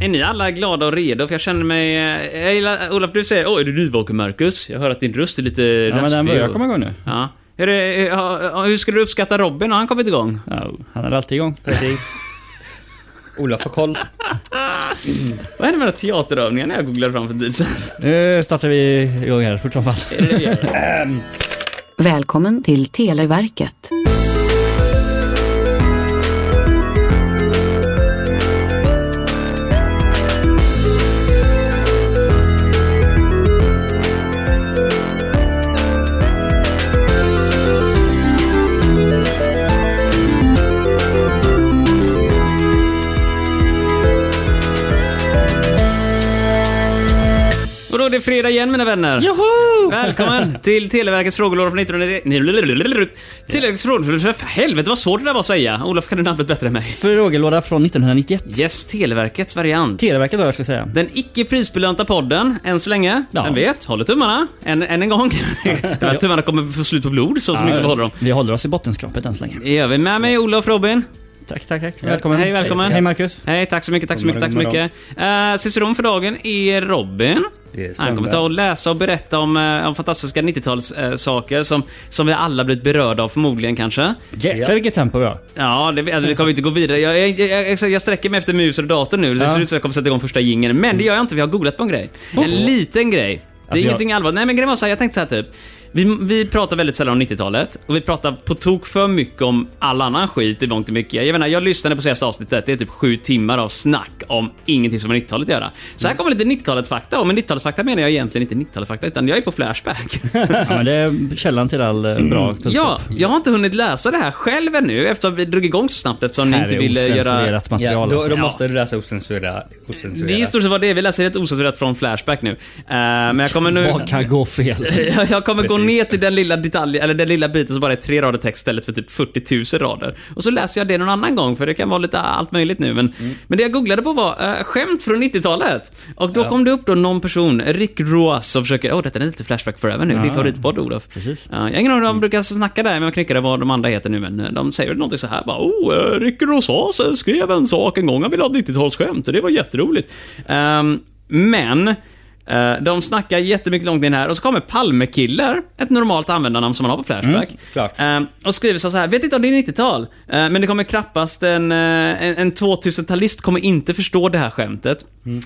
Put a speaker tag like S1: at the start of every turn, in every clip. S1: Är ni alla glada och redo? För jag känner mig... Jag gillar, Olof, du säger åh, är du nyvaken Marcus? Jag hör att din röst är lite
S2: Ja, men den börjar komma igång nu.
S1: Ja. Hur, är- ja, hur skulle du uppskatta Robin? Har han kommit igång?
S2: Ja, han är alltid igång.
S3: Precis. Olof har koll.
S1: Vad hände med de teaterövningarna jag googlade fram för en tid sedan?
S2: Nu startar vi igång här fort som fan.
S1: Är det det vi gör?
S4: Välkommen till Televerket.
S1: Och då är det fredag igen mina vänner.
S2: Joho!
S1: Välkommen till Televerkets frågelåda från 1990... Televerkets frågelåda... För helvete vad svårt det där var att säga. Olof, kan du namnet bättre än mig?
S2: Frågelåda från 1991.
S1: Yes, Televerkets variant.
S2: Televerket då, jag ska säga.
S1: Den icke prisbelönta podden, än så länge.
S2: Ja.
S1: Vem vet? Håller tummarna. Än, än en gång. De här tummarna kommer få slut på blod, så, så mycket vi håller dem.
S2: vi håller oss i bottenskrapet än så länge.
S1: Det gör vi. Med mig Olof, Robin.
S2: Tack, tack, tack. Välkommen.
S1: Hej, välkommen.
S2: Hej, Marcus.
S1: Hej, tack så mycket, tack så mycket,
S3: Godmorgon,
S1: tack så mycket. Uh, Ciceron för dagen är Robin.
S3: Det stämmer.
S1: Han kommer ta och läsa och berätta om, eh, om fantastiska 90-talssaker som, som vi alla blivit berörda av förmodligen kanske.
S2: Jäklar vilket tempo vi har.
S1: Ja, det, alltså, det kommer inte gå vidare. Jag, jag, jag, exakt, jag sträcker mig efter mus och dator nu. Det
S2: Ja.
S1: ser ut som jag kommer sätta igång första jingeln. Men det gör jag inte, vi har googlat på en grej. En liten grej. Det är
S2: Alltså, jag-
S1: ingenting allvarligt. Nej men grejen var så här, jag tänkte så här typ. Vi, vi pratar väldigt sällan om 90-talet och vi pratar på tok för mycket om all annan skit i mångt och mycket. Jag menar, jag lyssnade på senaste avsnittet, det är typ sju timmar av snack om ingenting som har med 90-talet att göra. Så
S2: Mm.
S1: här kommer lite 90-talet-fakta, och med 90-talet-fakta menar jag egentligen inte 90-talet-fakta, utan jag är på Flashback.
S2: Ja, men det är källan till all eh, bra kunskap.
S1: Ja, jag har inte hunnit läsa det här själv ännu eftersom vi drog igång så snabbt eftersom ni
S2: Här
S1: inte
S2: är
S1: ville göra...
S2: ocensurerat material.
S3: Ja, då,
S2: alltså.
S3: då måste du läsa ocensurerat. ocensurerat.
S1: Det är i stort sett vad det är. Vi läser helt osensurerat från Flashback nu. Eh, men jag kommer nu...
S2: Vad kan gå fel?
S1: Jag- Jag kommer gå
S3: Precis.
S1: ner till den lilla detaljen, eller den lilla biten som bara är tre rader text istället för typ 40 000 rader. Och så läser jag det någon annan gång, för det kan vara lite allt möjligt nu. Men,
S3: Mm.
S1: men det jag googlade på var eh, skämt från 90-talet. Och då kom det upp då någon person, Rick Roas, som försöker, åh detta är lite Flashback Forever nu, din favoritpodd Olof.
S2: Precis.
S1: Ja, jag har ingen aning om de brukar snacka där, men jag knyckade vad de andra heter nu, men eh, de säger väl någonting så här bara, oh, eh, Rick Rosas eh, skrev en sak en gång, han ville ha ett 90-talsskämt, och det var jätteroligt. Ehm, men, eh, de snackar jättemycket långt in här, och så kommer Palmekiller, ett normalt användarnamn som man har på Flashback.
S3: klart.
S1: Ehm, och skriver så här, vet inte om det är 90-tal, eh, men det kommer knappast en, eh, en, en 2000-talist kommer inte förstå det här skämtet. Eh,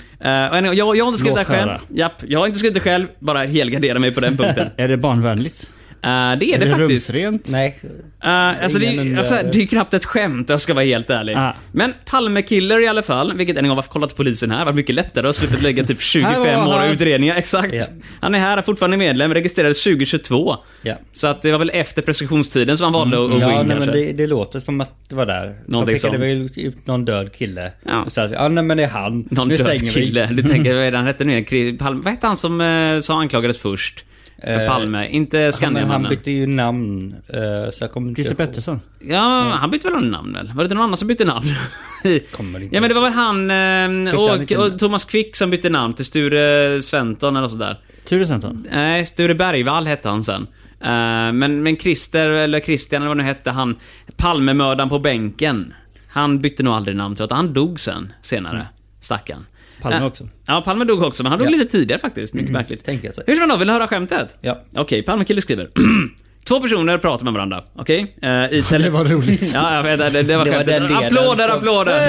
S1: och jag, jag har inte skrivit
S2: Låt
S1: det här själv.
S2: höra.
S1: Japp, jag har inte skrivit det själv, bara helgardera mig på den punkten.
S2: Är det barnvänligt?
S1: Eh, det är det, faktiskt.
S2: rumsrent?
S3: Nej.
S1: Eh, alltså det,
S3: Ingen
S1: är, alltså,
S3: undrade.
S1: det är knappt ett skämt, jag ska vara helt ärlig.
S2: Ah.
S1: Men Palmekiller i alla fall, vilket än en gång varför kollat polisen här, var mycket lättare och slutat lägga typ 25
S2: Här var
S1: år
S2: han.
S1: i utredningar. Exakt.
S3: Ja.
S1: Han är här, är fortfarande medlem, registrerades 2022.
S3: Ja. Mm.
S1: Så att det var väl efter preskriptionstiden som han valde att att gå
S3: Ja,
S1: in
S3: nej, men
S1: kanske.
S3: det, det låter som att det var där.
S1: Någonting
S3: de pekade
S1: sånt.
S3: väl ut någon död kille.
S1: Ja.
S3: Och så att, ja, nej men det är han.
S1: Någon
S3: nu
S1: död
S3: stänger Mm.
S1: kille. Du tänker, vad är det han hette nu igen? Kri- Palme, vad hette han som, eh, som anklagades först? För
S3: Eh,
S1: Palme, inte
S3: vi. Ja, men han
S1: Skandiamannen.
S3: bytte ju namn. eh, Så jag kommer inte
S2: Christer
S3: ihåg.
S2: Pettersson?
S1: Ja, han bytte väl någon namn väl? Var det inte någon annan som bytte namn?
S3: Kommer inte
S1: ja men det var väl han eh,
S3: Bytte han inte
S1: och,
S3: namn?
S1: och Thomas Quick som bytte namn till Sture Sventon eller sådär.
S2: Ture Sventon?
S1: Nej, Sture Bergvall hette han sen. Eh, men, men Christer, eller Christian eller vad det nu hette, han Palmemördaren på bänken. Han bytte nog aldrig namn tror jag, han dog sen, senare. Stackarn.
S2: Palme
S1: Eh,
S2: också.
S1: Ja, Palme dog också, men han dog
S3: Mm. Ja. Mm-hmm.
S1: lite tidigare faktiskt. Mycket märkligt.
S3: Tänker jag sig.
S1: Hur som helst, vill du höra skämtet?
S3: Ja.
S1: Okej, Palmekille skriver. Två personer pratar med varandra, okej? Eh, i tele-
S2: Det var roligt.
S1: Ja, jag vet, det, det var
S3: Det var
S1: skämtet.
S3: den delen
S1: applåder,
S3: som-
S1: applåder!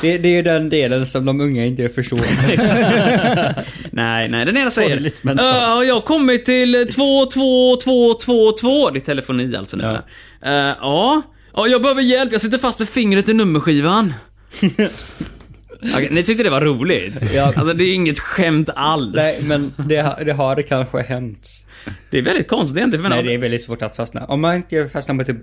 S3: Det, det är ju den delen som de unga inte förstår.
S1: nej, nej, den ena säger...
S2: Sorgligt, men
S1: "Eh,
S2: sant."
S1: ja, jag har kommit till 22222. Det är telefoni alltså nu. Ja. ja. ja, jag behöver hjälp. Jag sitter fast med fingret i nummerskivan. Okej, ni tyckte det var roligt?
S3: Ja.
S1: Alltså det är inget skämt alls.
S3: Nej, men det, har- det har det kanske hänt.
S1: Det är väldigt konstigt egentligen. för
S3: Nej,
S1: någon-
S3: det är väldigt svårt att fastna. Om man inte fastnar på typ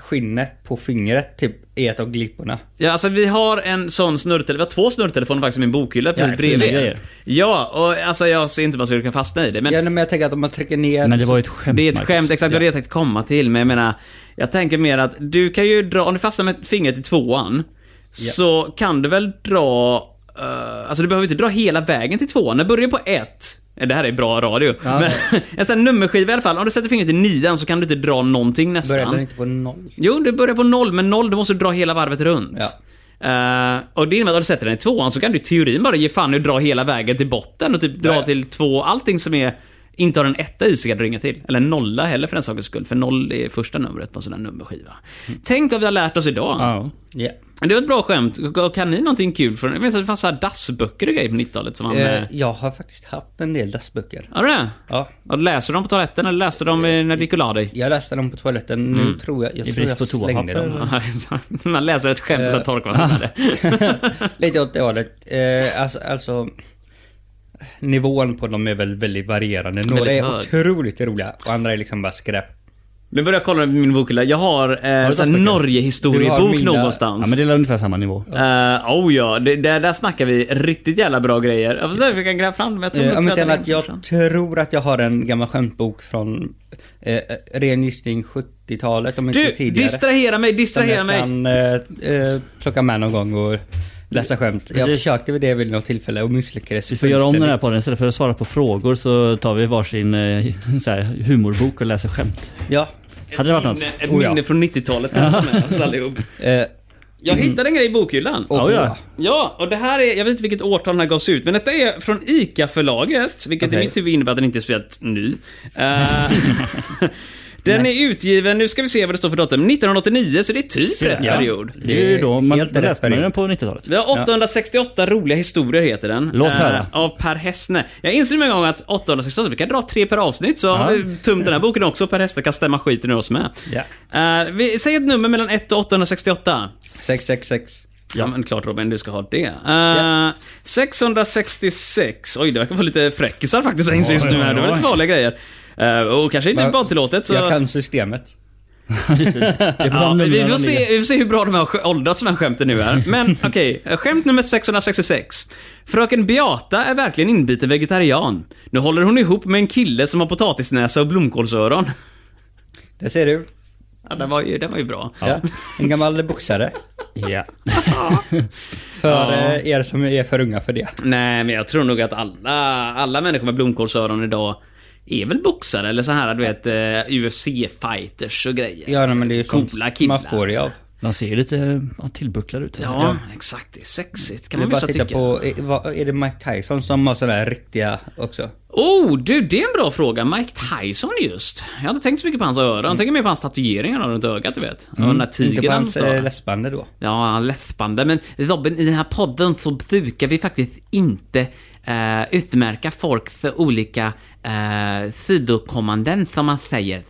S3: skinnet på fingret, typ i ett av glipporna.
S1: Ja, alltså vi har en sån snurrtelefon, vi har två snurrtelefoner faktiskt i min bokhylla precis
S2: Ja, fina
S1: bredvid.
S2: grejer.
S1: Ja, och alltså jag ser inte hur man skulle kunna fastna i det, men
S3: ja, nej, men jag tänker att om man trycker ner...
S2: Men det var ju ett skämt
S1: det är ett
S2: Marcus.
S1: skämt, exakt, det var det jag tänkte komma till, men jag menar, jag tänker mer att du kan ju dra, om du fastnar med fingret i tvåan, så kan du väl dra, eh, alltså du behöver inte dra hela vägen till tvåan, det börjar på ett, Eh, det här är bra radio, men en sån här nummerskiva i alla fall, om du sätter fingret i nian så kan du inte dra någonting nästan.
S3: Började den inte på noll?
S1: Jo, du börjar på noll, men noll, du måste dra hela varvet runt.
S3: Ja.
S1: Eh, och det innebär att har du sätter den i tvåan så kan du i teorin bara ge fan och dra hela vägen till botten och typ dra
S3: Ja, ja.
S1: till två. Allting som är, inte har en etta i sig kan du ringa till. Eller en nolla heller för den sakens skull, för noll är första numret på en sån här nummerskiva. Tänk vad vi har lärt oss idag.
S2: Ja.
S3: Mm. Ja.
S1: Men Det var ett bra skämt. Kan ni någonting kul från... Jag vet att det fanns så här dassböcker och grejer på 90-talet som han...
S3: Eh,
S1: Eh,
S3: jag har faktiskt haft en del dassböcker.
S1: har du det?
S3: Ja.
S1: Och läser du dem på toaletten eller läste du dem eh, när du gick och la dig?
S3: Jag läste dem på toaletten. Nu tror jag, jag,
S2: I
S3: tror
S2: brist
S3: jag
S2: på
S3: slängde
S2: toapapper,
S3: dem.
S2: eller?
S1: Man läser ett skämt och så torkar man sig med det.
S3: Lite åt det hållet. Eh, alltså, alltså, nivån på dem är väl väldigt varierande. Några
S1: Väldigt
S3: är
S1: hög.
S3: otroligt roliga och andra är liksom bara skräp.
S1: Nu börjar jag kolla i min bokhylla. Jag har eh,
S3: du
S1: en
S3: dassböcker? Du har
S1: Norge-historiebok
S3: mina-
S2: ja,
S1: någonstans.
S2: men det är ungefär samma nivå.
S1: Eh, oh ja, det, där, där snackar vi riktigt jävla bra grejer. Jag får se om vi kan gräva fram dem. Jag tror
S3: Eh,
S1: nog
S3: om
S1: att
S3: inte
S1: jag tar
S3: annat,
S1: dem
S3: jag
S1: sen.
S3: tror att jag har en gammal skämtbok från eh, eh, ren gissning 70-talet om inte
S1: Du,
S3: tidigare.
S1: distrahera mig,
S3: Som
S1: distrahera
S3: jag
S1: mig.
S3: kan eh, eh, plocka med någon gång och läsa skämt. Jag
S2: Precis.
S3: försökte vid det vid något tillfälle och misslyckades
S2: Vi får göra om den här
S3: fullständigt.
S2: podden. Istället för att svara på frågor så tar vi varsin eh, så här, humorbok och läser skämt.
S3: Ja.
S2: Hade det varit något?
S1: Minne- Ett
S3: Oh ja.
S1: minne från 90-talet kan vi ta med oss allihop.
S3: Eh,
S1: Jag hittade en grej i bokhyllan.
S3: och,
S2: Ja, ja.
S1: Ja, och det här är, jag vet inte vilket årtal den här gavs ut, men detta är från ICA-förlaget, vilket i
S3: Okej.
S1: mitt huvud innebär att den inte är speciellt ny. Eh, den är utgiven, nu ska vi se vad det står för datum, 1989, så det är typ
S2: Se
S1: rätt
S2: där.
S1: period.
S2: Det är ju då man
S3: Helt rätt
S2: läste man ju den
S3: period.
S2: på 90-talet.
S1: Vi har 868 roliga historier heter den.
S2: Låt
S1: Eh,
S2: höra.
S1: Av Per Hessne. Jag insåg en gång att 868, vi kan dra tre per avsnitt så har vi tömt den här boken också. Per Hessne kan stämma skiten ur oss med. Eh, vi, säg ett nummer mellan 1 och 868.
S3: 666.
S1: Ja, men klart Robin, du ska ha det. Eh, 666. Oj, det verkar vara lite fräckisar faktiskt jag inser just nu här. Det var lite farliga grejer. Eh, och kanske inte
S3: Men-
S1: bara tillåtet så...
S3: Jag kan systemet.
S2: Precis. Det är på
S1: Ja,
S2: de
S1: vi,
S2: numren
S1: får
S2: de ligger.
S1: se, vi får se hur bra de har sk- åldrats de här skämten nu är. Men okej, eh, skämt nummer 666. Fröken Beata är verkligen inbiten vegetarian. Nu håller hon ihop med en kille som har potatisnäsa och blomkålsöron.
S3: Där ser du.
S1: Ja, den var ju, den var ju bra.
S3: Ja. En gammal boxare.
S2: Ja.
S3: För eh, er som är för unga för det.
S1: Nej, men jag tror nog att alla, alla människor med blomkålsöron idag är väl boxare eller så här, du vet, eh, UFC-fighters och grejer.
S3: Ja, nej, men det är ju sånt
S1: Coola killar.
S3: man får det av.
S2: De ser ju lite eh, ja, tillbucklade ut.
S1: Ja, exakt. Det är sexigt. Kan
S3: Det är
S1: man
S3: bara
S1: vissa
S3: att titta
S1: tycka.
S3: på, är, vad, är det Mike Tyson som har sådana här riktiga också?
S1: Oh, du, det är en bra fråga. Mike Tyson just. Jag hade tänkt så mycket på hans öron. Jag tänker mer på hans tatueringar runt ögat, du vet. Och den där tigern
S3: Mm. Inte på hans
S1: står.
S3: eh, läsbande då.
S1: Ja, han läppande. Men Robin, i den här podden så brukar vi faktiskt inte eh, utmärka folk för olika eh, sidokommanden, som man säger. Ska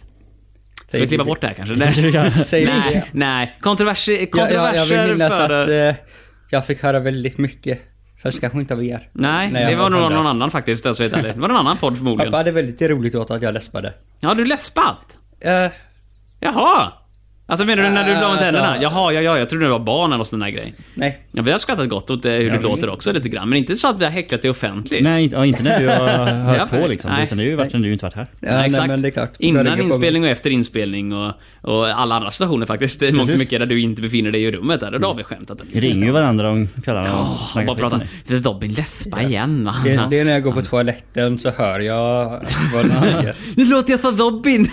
S1: vi
S3: Säger
S1: klippa
S3: du-
S1: bort det här kanske?
S2: du
S1: Nej,
S2: kan-
S3: Säger du
S1: nej,
S3: det?
S1: nej. Kontroverser,
S3: Jag,
S1: kontroverser
S3: jag, jag vill minnas
S1: för...
S3: att eh, jag fick höra väldigt mycket. Fast kanske inte av er.
S1: nej,
S3: när jag
S1: det var nog
S3: tonårs.
S1: någon annan faktiskt. Jag vet inte. det var någon annan podd
S3: Pappa
S1: förmodligen.
S3: hade väldigt roligt åt att jag läspade.
S1: Ja, du läspat?
S3: Eh,
S1: Jaha! Alltså menar du när du blev
S3: Äh,
S1: av med
S3: alltså-
S1: tänderna? Jaha, ja, ja, jag trodde det var barn eller någon sån där grej.
S3: nej.
S1: Ja, vi har skrattat gott åt eh, hur det
S2: men-
S1: låter också lite grann, men inte så att vi har häcklat det offentligt.
S2: Nej, inte, ja, inte när du har
S1: Ja,
S2: hört på
S1: nej.
S2: liksom.
S1: Nej.
S2: Utan det är ju varit när du inte varit här.
S3: Ja,
S1: Nej,
S3: nej,
S1: exakt.
S3: men det är klart. Börjar
S1: Innan
S3: gå på-
S1: inspelning och efter inspelning och, och alla andra situationer faktiskt. I mångt och
S2: Precis.
S1: mycket där du inte befinner dig i rummet. Där, då har vi skämtat en
S2: Vi ringer ju varandra om kvällarna och
S1: Oh,
S2: snackar
S1: bara
S2: skit om
S1: prata.
S2: dig.
S1: Det är Robin läspa igen va?
S3: Det, det är när jag går på toaletten så hör jag vad de säger.
S1: Nu låter jag som Robin!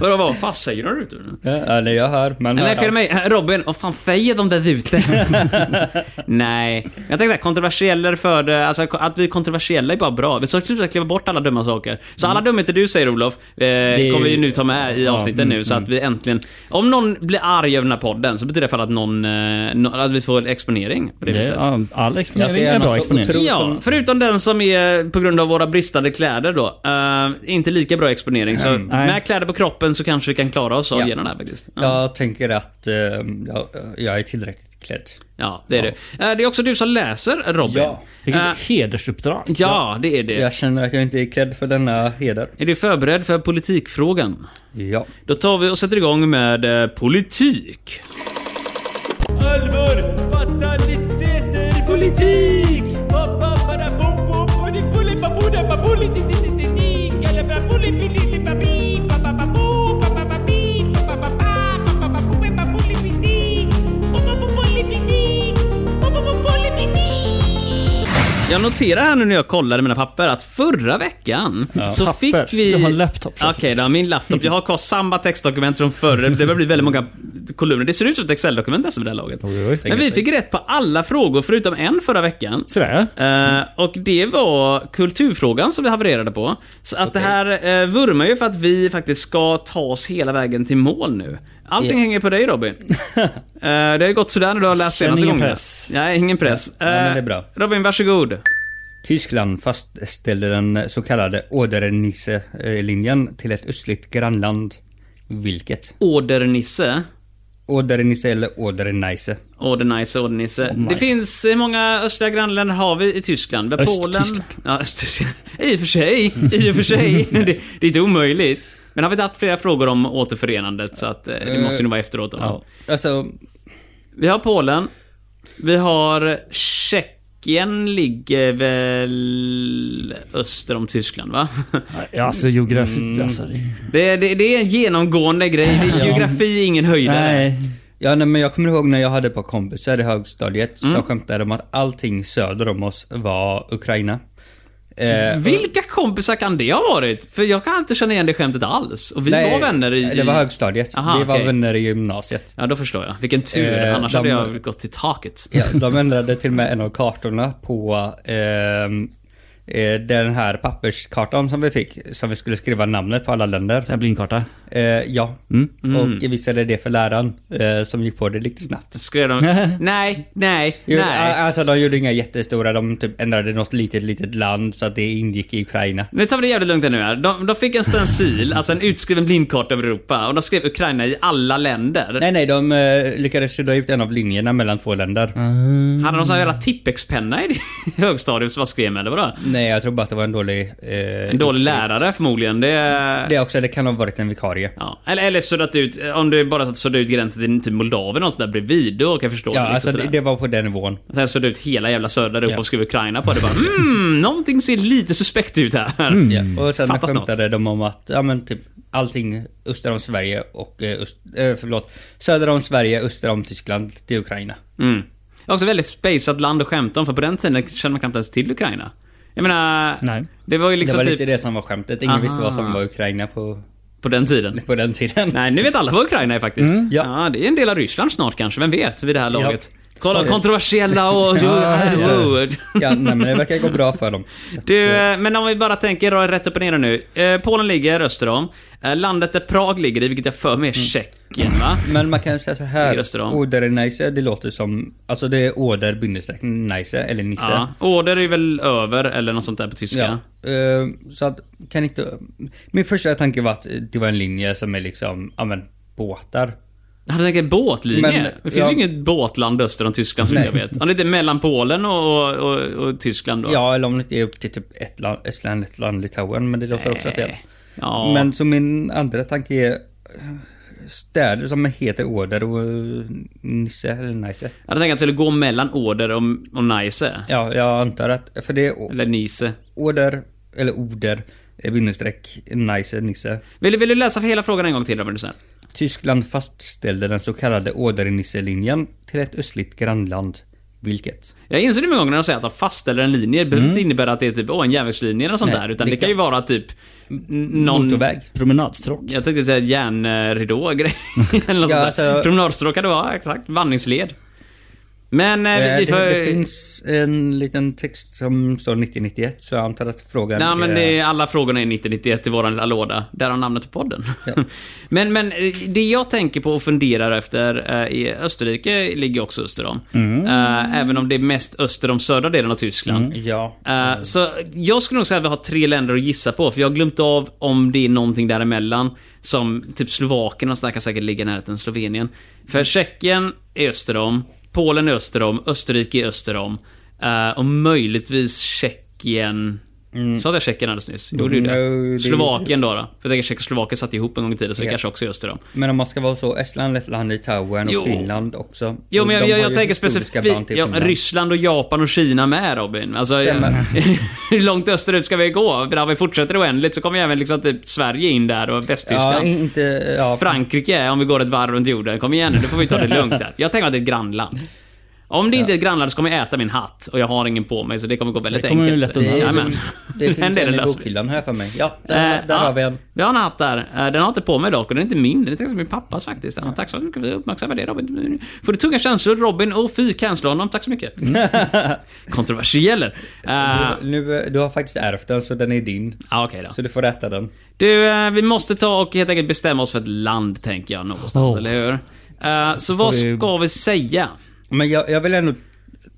S1: Och då bara, vad fan säger de där ute? nu?
S3: Ja, Eller jag hör, man
S1: Nej,
S3: hör
S1: fel mig. Robin, vad fan säger de där ute? Nej. Jag tänkte att kontroversiella för det, alltså att vi är kontroversiella är bara bra. Vi ska försöka kliva bort alla dumma saker. Så alla dumheter du säger Olof, eh,
S2: Mm. är
S1: kommer vi
S2: ju-
S1: nu ta med i
S2: Ja,
S1: avsnitten
S2: mm,
S1: nu. Så att vi äntligen... Om någon blir arg över den här podden så betyder det i alla fall att någon... Eh, no, att vi får exponering på det,
S2: Det,
S1: viset.
S2: ja, all
S3: Jag ska
S2: exponering är
S3: gärna
S2: bra
S3: så
S2: exponering.
S3: otroligt-
S1: Ja, förutom den som är på grund av våra bristande kläder då. Eh, inte lika bra exponering. Så med kläder på kroppen så kanske vi kan klara oss av
S3: Ja.
S1: genom det här faktiskt. Mm. Ja.
S3: Jag tänker att eh, jag, jag är tillräckligt klädd.
S1: Ja, det är det. Eh, Det är också du som läser, Robin.
S3: Ja.
S2: Vilket
S1: Eh,
S2: hedersuppdrag.
S1: ja det är det.
S3: Jag känner att jag inte är klädd för denna heder.
S1: Är du förberedd för politikfrågan?
S3: Ja.
S1: Då tar vi och sätter igång med eh, politik.
S5: Allvar, fataliteter, politik!
S1: Jag noterar här nu när jag kollade mina papper att förra veckan så
S2: Papper.
S1: fick vi...
S2: Du har en laptop, så-
S1: Okej då, min laptop. Jag har kvar samma textdokument från förra. Det börjar bli väldigt många kolumner. Det ser ut som ett Excel-dokument nästan vid det här laget.
S2: Oj, oj.
S1: Men vi fick rätt på alla frågor förutom en förra veckan.
S2: Sådär ja.
S1: Eh, och det var kulturfrågan som vi havererade på. Så att det här eh, vurmar ju för att vi faktiskt ska ta oss hela vägen till mål nu. Allting
S3: Ja.
S1: hänger på dig Robin. Eh, det har ju gått sådär när du har läst
S2: Känn
S1: senaste
S2: ingen
S1: gången.
S2: press.
S1: Nej, ingen press.
S3: Ja, men det är
S1: Eh,
S3: bra.
S1: Robin, varsågod.
S3: Tyskland fastställde den så kallade Oder-Nisse-linjen till ett östligt grannland. Vilket?
S1: Ordernisse.
S3: Oder-Nisse eller Oder-Neisse.
S1: Ordernisse, ordernisse. det finns, hur många östliga grannländer har vi i Tyskland? Vi har Polen.
S2: Östtyskland.
S1: Ja, Östtyskland. I och för sig. I och för sig. det, det är inte omöjligt. Men har vi haft flera frågor om återförenandet så att eh, det
S3: Eh,
S1: måste ju nog vara efteråt. Då.
S3: Alltså,
S1: Vi har Polen. Vi har Tjeckien ligger väl öster om Tyskland va?
S2: Ja,
S1: Mm.
S2: Alltså geografi alltså. Det...
S1: Det, det, det är en genomgående grej. Det är geografi är ingen höjdare.
S2: Nej.
S3: ja, nej, men jag kommer ihåg när jag hade ett par kompisar i högstadiet
S1: Mm.
S3: som skämtade om att allting söder om oss var Ukraina. Eh,
S1: Vilka kompisar kan det ha varit? För jag kan inte känna igen det skämtet alls. Och vi
S3: nej,
S1: var vänner i...
S3: Det var högstadiet.
S1: Aha,
S3: vi var
S1: okej.
S3: vänner i gymnasiet.
S1: Ja, då förstår jag. Vilken tur.
S3: Eh,
S1: Annars
S3: de-
S1: hade jag gått till taket.
S3: Ja, de ändrade till och med en av kartorna på ehm, eh, den här papperskartan som vi fick. Som vi skulle skriva namnet på alla länder.
S2: Så här blindkarta.
S3: Eh, ja.
S1: Mm.
S3: Och visade det för läraren eh, som gick på det lite snabbt.
S1: Skrev de... Nej, nej,
S3: Jo, a-
S1: nej.
S3: Alltså de gjorde inga jättestora, de typ ändrade något litet, litet land så att det ingick i Ukraina.
S1: Nu tar vi det jävligt lugnt här nu här. De, de fick en stencil, alltså en utskriven blindkarta över Europa. Och de skrev Ukraina i alla länder.
S3: Nej, nej, de eh, lyckades sudda ut en av linjerna mellan två länder.
S2: Mm.
S1: Hade de sån här jävla Tippex-penna i det- högstadiet som var skrev med, eller vadå?
S3: Nej, jag tror bara att det var en dålig... eh,
S1: En dålig
S3: utskrift.
S1: lärare förmodligen. Det...
S3: Det också, det kan ha varit en vikarie.
S1: Ja. Eller, eller suddat ut, om du bara suddat ut gränsen till typ Moldavien och sådär bredvid, då kan jag förstå.
S3: Ja,
S1: liksom
S3: alltså det,
S1: sådär.
S3: det var på den nivån.
S1: Att jag suddade ut hela jävla södra Europa
S3: Ja.
S1: och skrev Ukraina på det. Bara, mm, någonting ser lite suspekt ut här.
S3: Mm. Ja. Och sen
S1: Fattas
S3: skämtade de om att, ja men typ allting öster om Sverige och eh, öst, eh, förlåt, söder om Sverige, öster om Tyskland, till Ukraina.
S1: Mm. Det är också väldigt spaceat land att skämta om, för på den tiden kände man knappt ens till Ukraina. Jag menar,
S2: Nej.
S1: det var ju
S3: Det
S1: liksom
S3: var
S1: typ
S3: lite det som var skämtet. Ingen
S1: Aha.
S3: visste vad som var Ukraina på,
S1: på den tiden.
S3: på den tiden.
S1: Nej, nu vet alla vad Ukraina är faktiskt. ja.
S3: Mm. Ja.
S1: det är en del av Ryssland snart kanske, vem vet, vid det här laget. Kolla,
S3: Sorry.
S1: kontroversiella och... jo,
S3: Ja, nej, men det verkar gå bra för dem. Så att,
S1: Du, eh, men om vi bara tänker då, rätt upp och ner nu. Eh, Polen ligger öster om. Eh, landet där Prag ligger i, vilket jag för mig är
S3: Mm.
S1: Tjeckien, va?
S3: Men man kan säga så
S1: Ligger
S3: här.
S1: öster om.
S3: Oder-Neisse, det låter som... Alltså det är Oder bindestreck Neisse, eller Nisse.
S1: Ja. Order är väl över, eller något sånt där på tyska.
S3: Ja. Eh, så att, kan inte... Min första tanke var att det var en linje som är liksom, ja men, båtar.
S1: Han tänker båtlinje.
S3: Men,
S1: det finns
S3: ja.
S1: ju inget båtland öster om Tyskland som jag vet. Om det inte är mellan Polen och, och, och Tyskland då.
S3: Ja, eller om det inte är upp till typ ett land, Estland, Lettland, Litauen, men det låter också fel.
S1: Ja.
S3: Men så min andra tanke är eh, städer som heter Oder och eh, Nisse eller Neisse.
S1: Jag hade tänkt att det skulle gå mellan Order och, och Neisse.
S3: Ja, jag antar att, för det är o-
S1: Eller Nice.
S3: Oder, eller Oder, eh, bindestreck, Neisse, Nisse.
S1: Vill, vill du läsa för hela frågan en gång till Robin sen?
S3: Tyskland fastställde den så kallade Oder-Nisse-linjen till ett östligt grannland. Vilket?
S1: Jag inser det med gången när de säger att de fastställer en linje. Det behöver inte innebära att det är typ, åh, en järnvägslinje eller sånt
S3: Mm. Nej,
S1: där. Utan det,
S3: det
S1: kan ju vara typ n- någon...
S3: Motorväg.
S2: Promenadstråk.
S1: Jag tänkte säga järnridå och grejer. Eller något
S3: Ja,
S1: sånt där.
S3: alltså-
S1: Promenadstråk kan det vara, exakt. Vandringsled. Men eh,
S3: Eh,
S1: vi, vi
S3: det,
S1: får...
S3: det finns en liten text som står 9091 så jag antar att frågan eh,
S1: Nej, men det
S3: är...
S1: är, alla frågorna är 9091 i våran lilla låda. Där har namnet på podden. men, men eh, det jag tänker på och funderar efter eh, är Österrike ligger också öster om. Eh, även om det är mest öster om södra delen av Tyskland.
S3: Mm. Ja.
S1: Eh, Så jag skulle nog säga att vi har tre länder att gissa på, för jag har glömt av om det är någonting däremellan. Som typ Slovakien och sådär kan säkert ligga i närheten Slovenien. För Tjeckien är öster om, Polen är öster om, Österrike är öster om. eh, Och möjligtvis Tjeckien... Sa jag Tjeckien alldeles nyss? Jo, det gjorde
S3: Mm,
S1: jag.
S3: det-
S1: Slovakien då. då. För jag tänker Tjeckoslovakien satt ihop en gång i tiden, så det kanske också är öster om.
S3: Men om man ska vara så, Estland, Lettland, Litauen och
S1: Jo.
S3: Finland också.
S1: Jo,
S3: Och
S1: men jag,
S3: de
S1: jag,
S3: har
S1: jag
S3: ju
S1: tänker
S3: historiska band
S1: specifikt...
S3: till
S1: Ja,
S3: Finland.
S1: Ryssland och Japan och Kina med Robin. Alltså,
S3: Stämmer.
S1: hur långt österut ska vi gå? För om vi fortsätter oändligt så kommer ju även liksom typ Sverige in där och
S3: Ja,
S1: Västtyskland.
S3: inte... Ja.
S1: Frankrike, om vi går ett varv runt jorden. Kom igen nu, nu får vi ta det lugnt där. Jag tänker att det är ett grannland. Om det inte är ett grannland så kommer jag äta min hatt och jag har ingen på mig så det kommer gå väldigt
S2: Det kommer
S1: enkelt.
S2: ju lätt undan.
S1: Jajamän.
S3: Det
S1: Men
S3: finns en i
S1: löser vi.
S3: bokhyllan här för mig. Ja,
S1: Eh,
S3: där, där
S1: ja,
S3: har vi en.
S1: Vi har en hatt där. Eh, Den har inte på mig dock och den är inte min. Den är faktiskt min pappas faktiskt. Ja, tack så mycket. Vi uppmärksammar det Robin. Får du tunga känslor Robin? Och fy, cancella honom. Tack så mycket. Kontroversieller. Eh,
S3: Nu, eh, du har faktiskt ärvt den så den är din.
S1: Ah, Ja, okej då.
S3: Så du får äta den.
S1: Du, eh, vi måste ta och helt enkelt bestämma oss för ett land, tänker jag någonstans,
S2: Oh.
S1: eller hur? Eh, så vad
S2: vi-
S1: ska vi säga?
S3: Men jag, jag vill ändå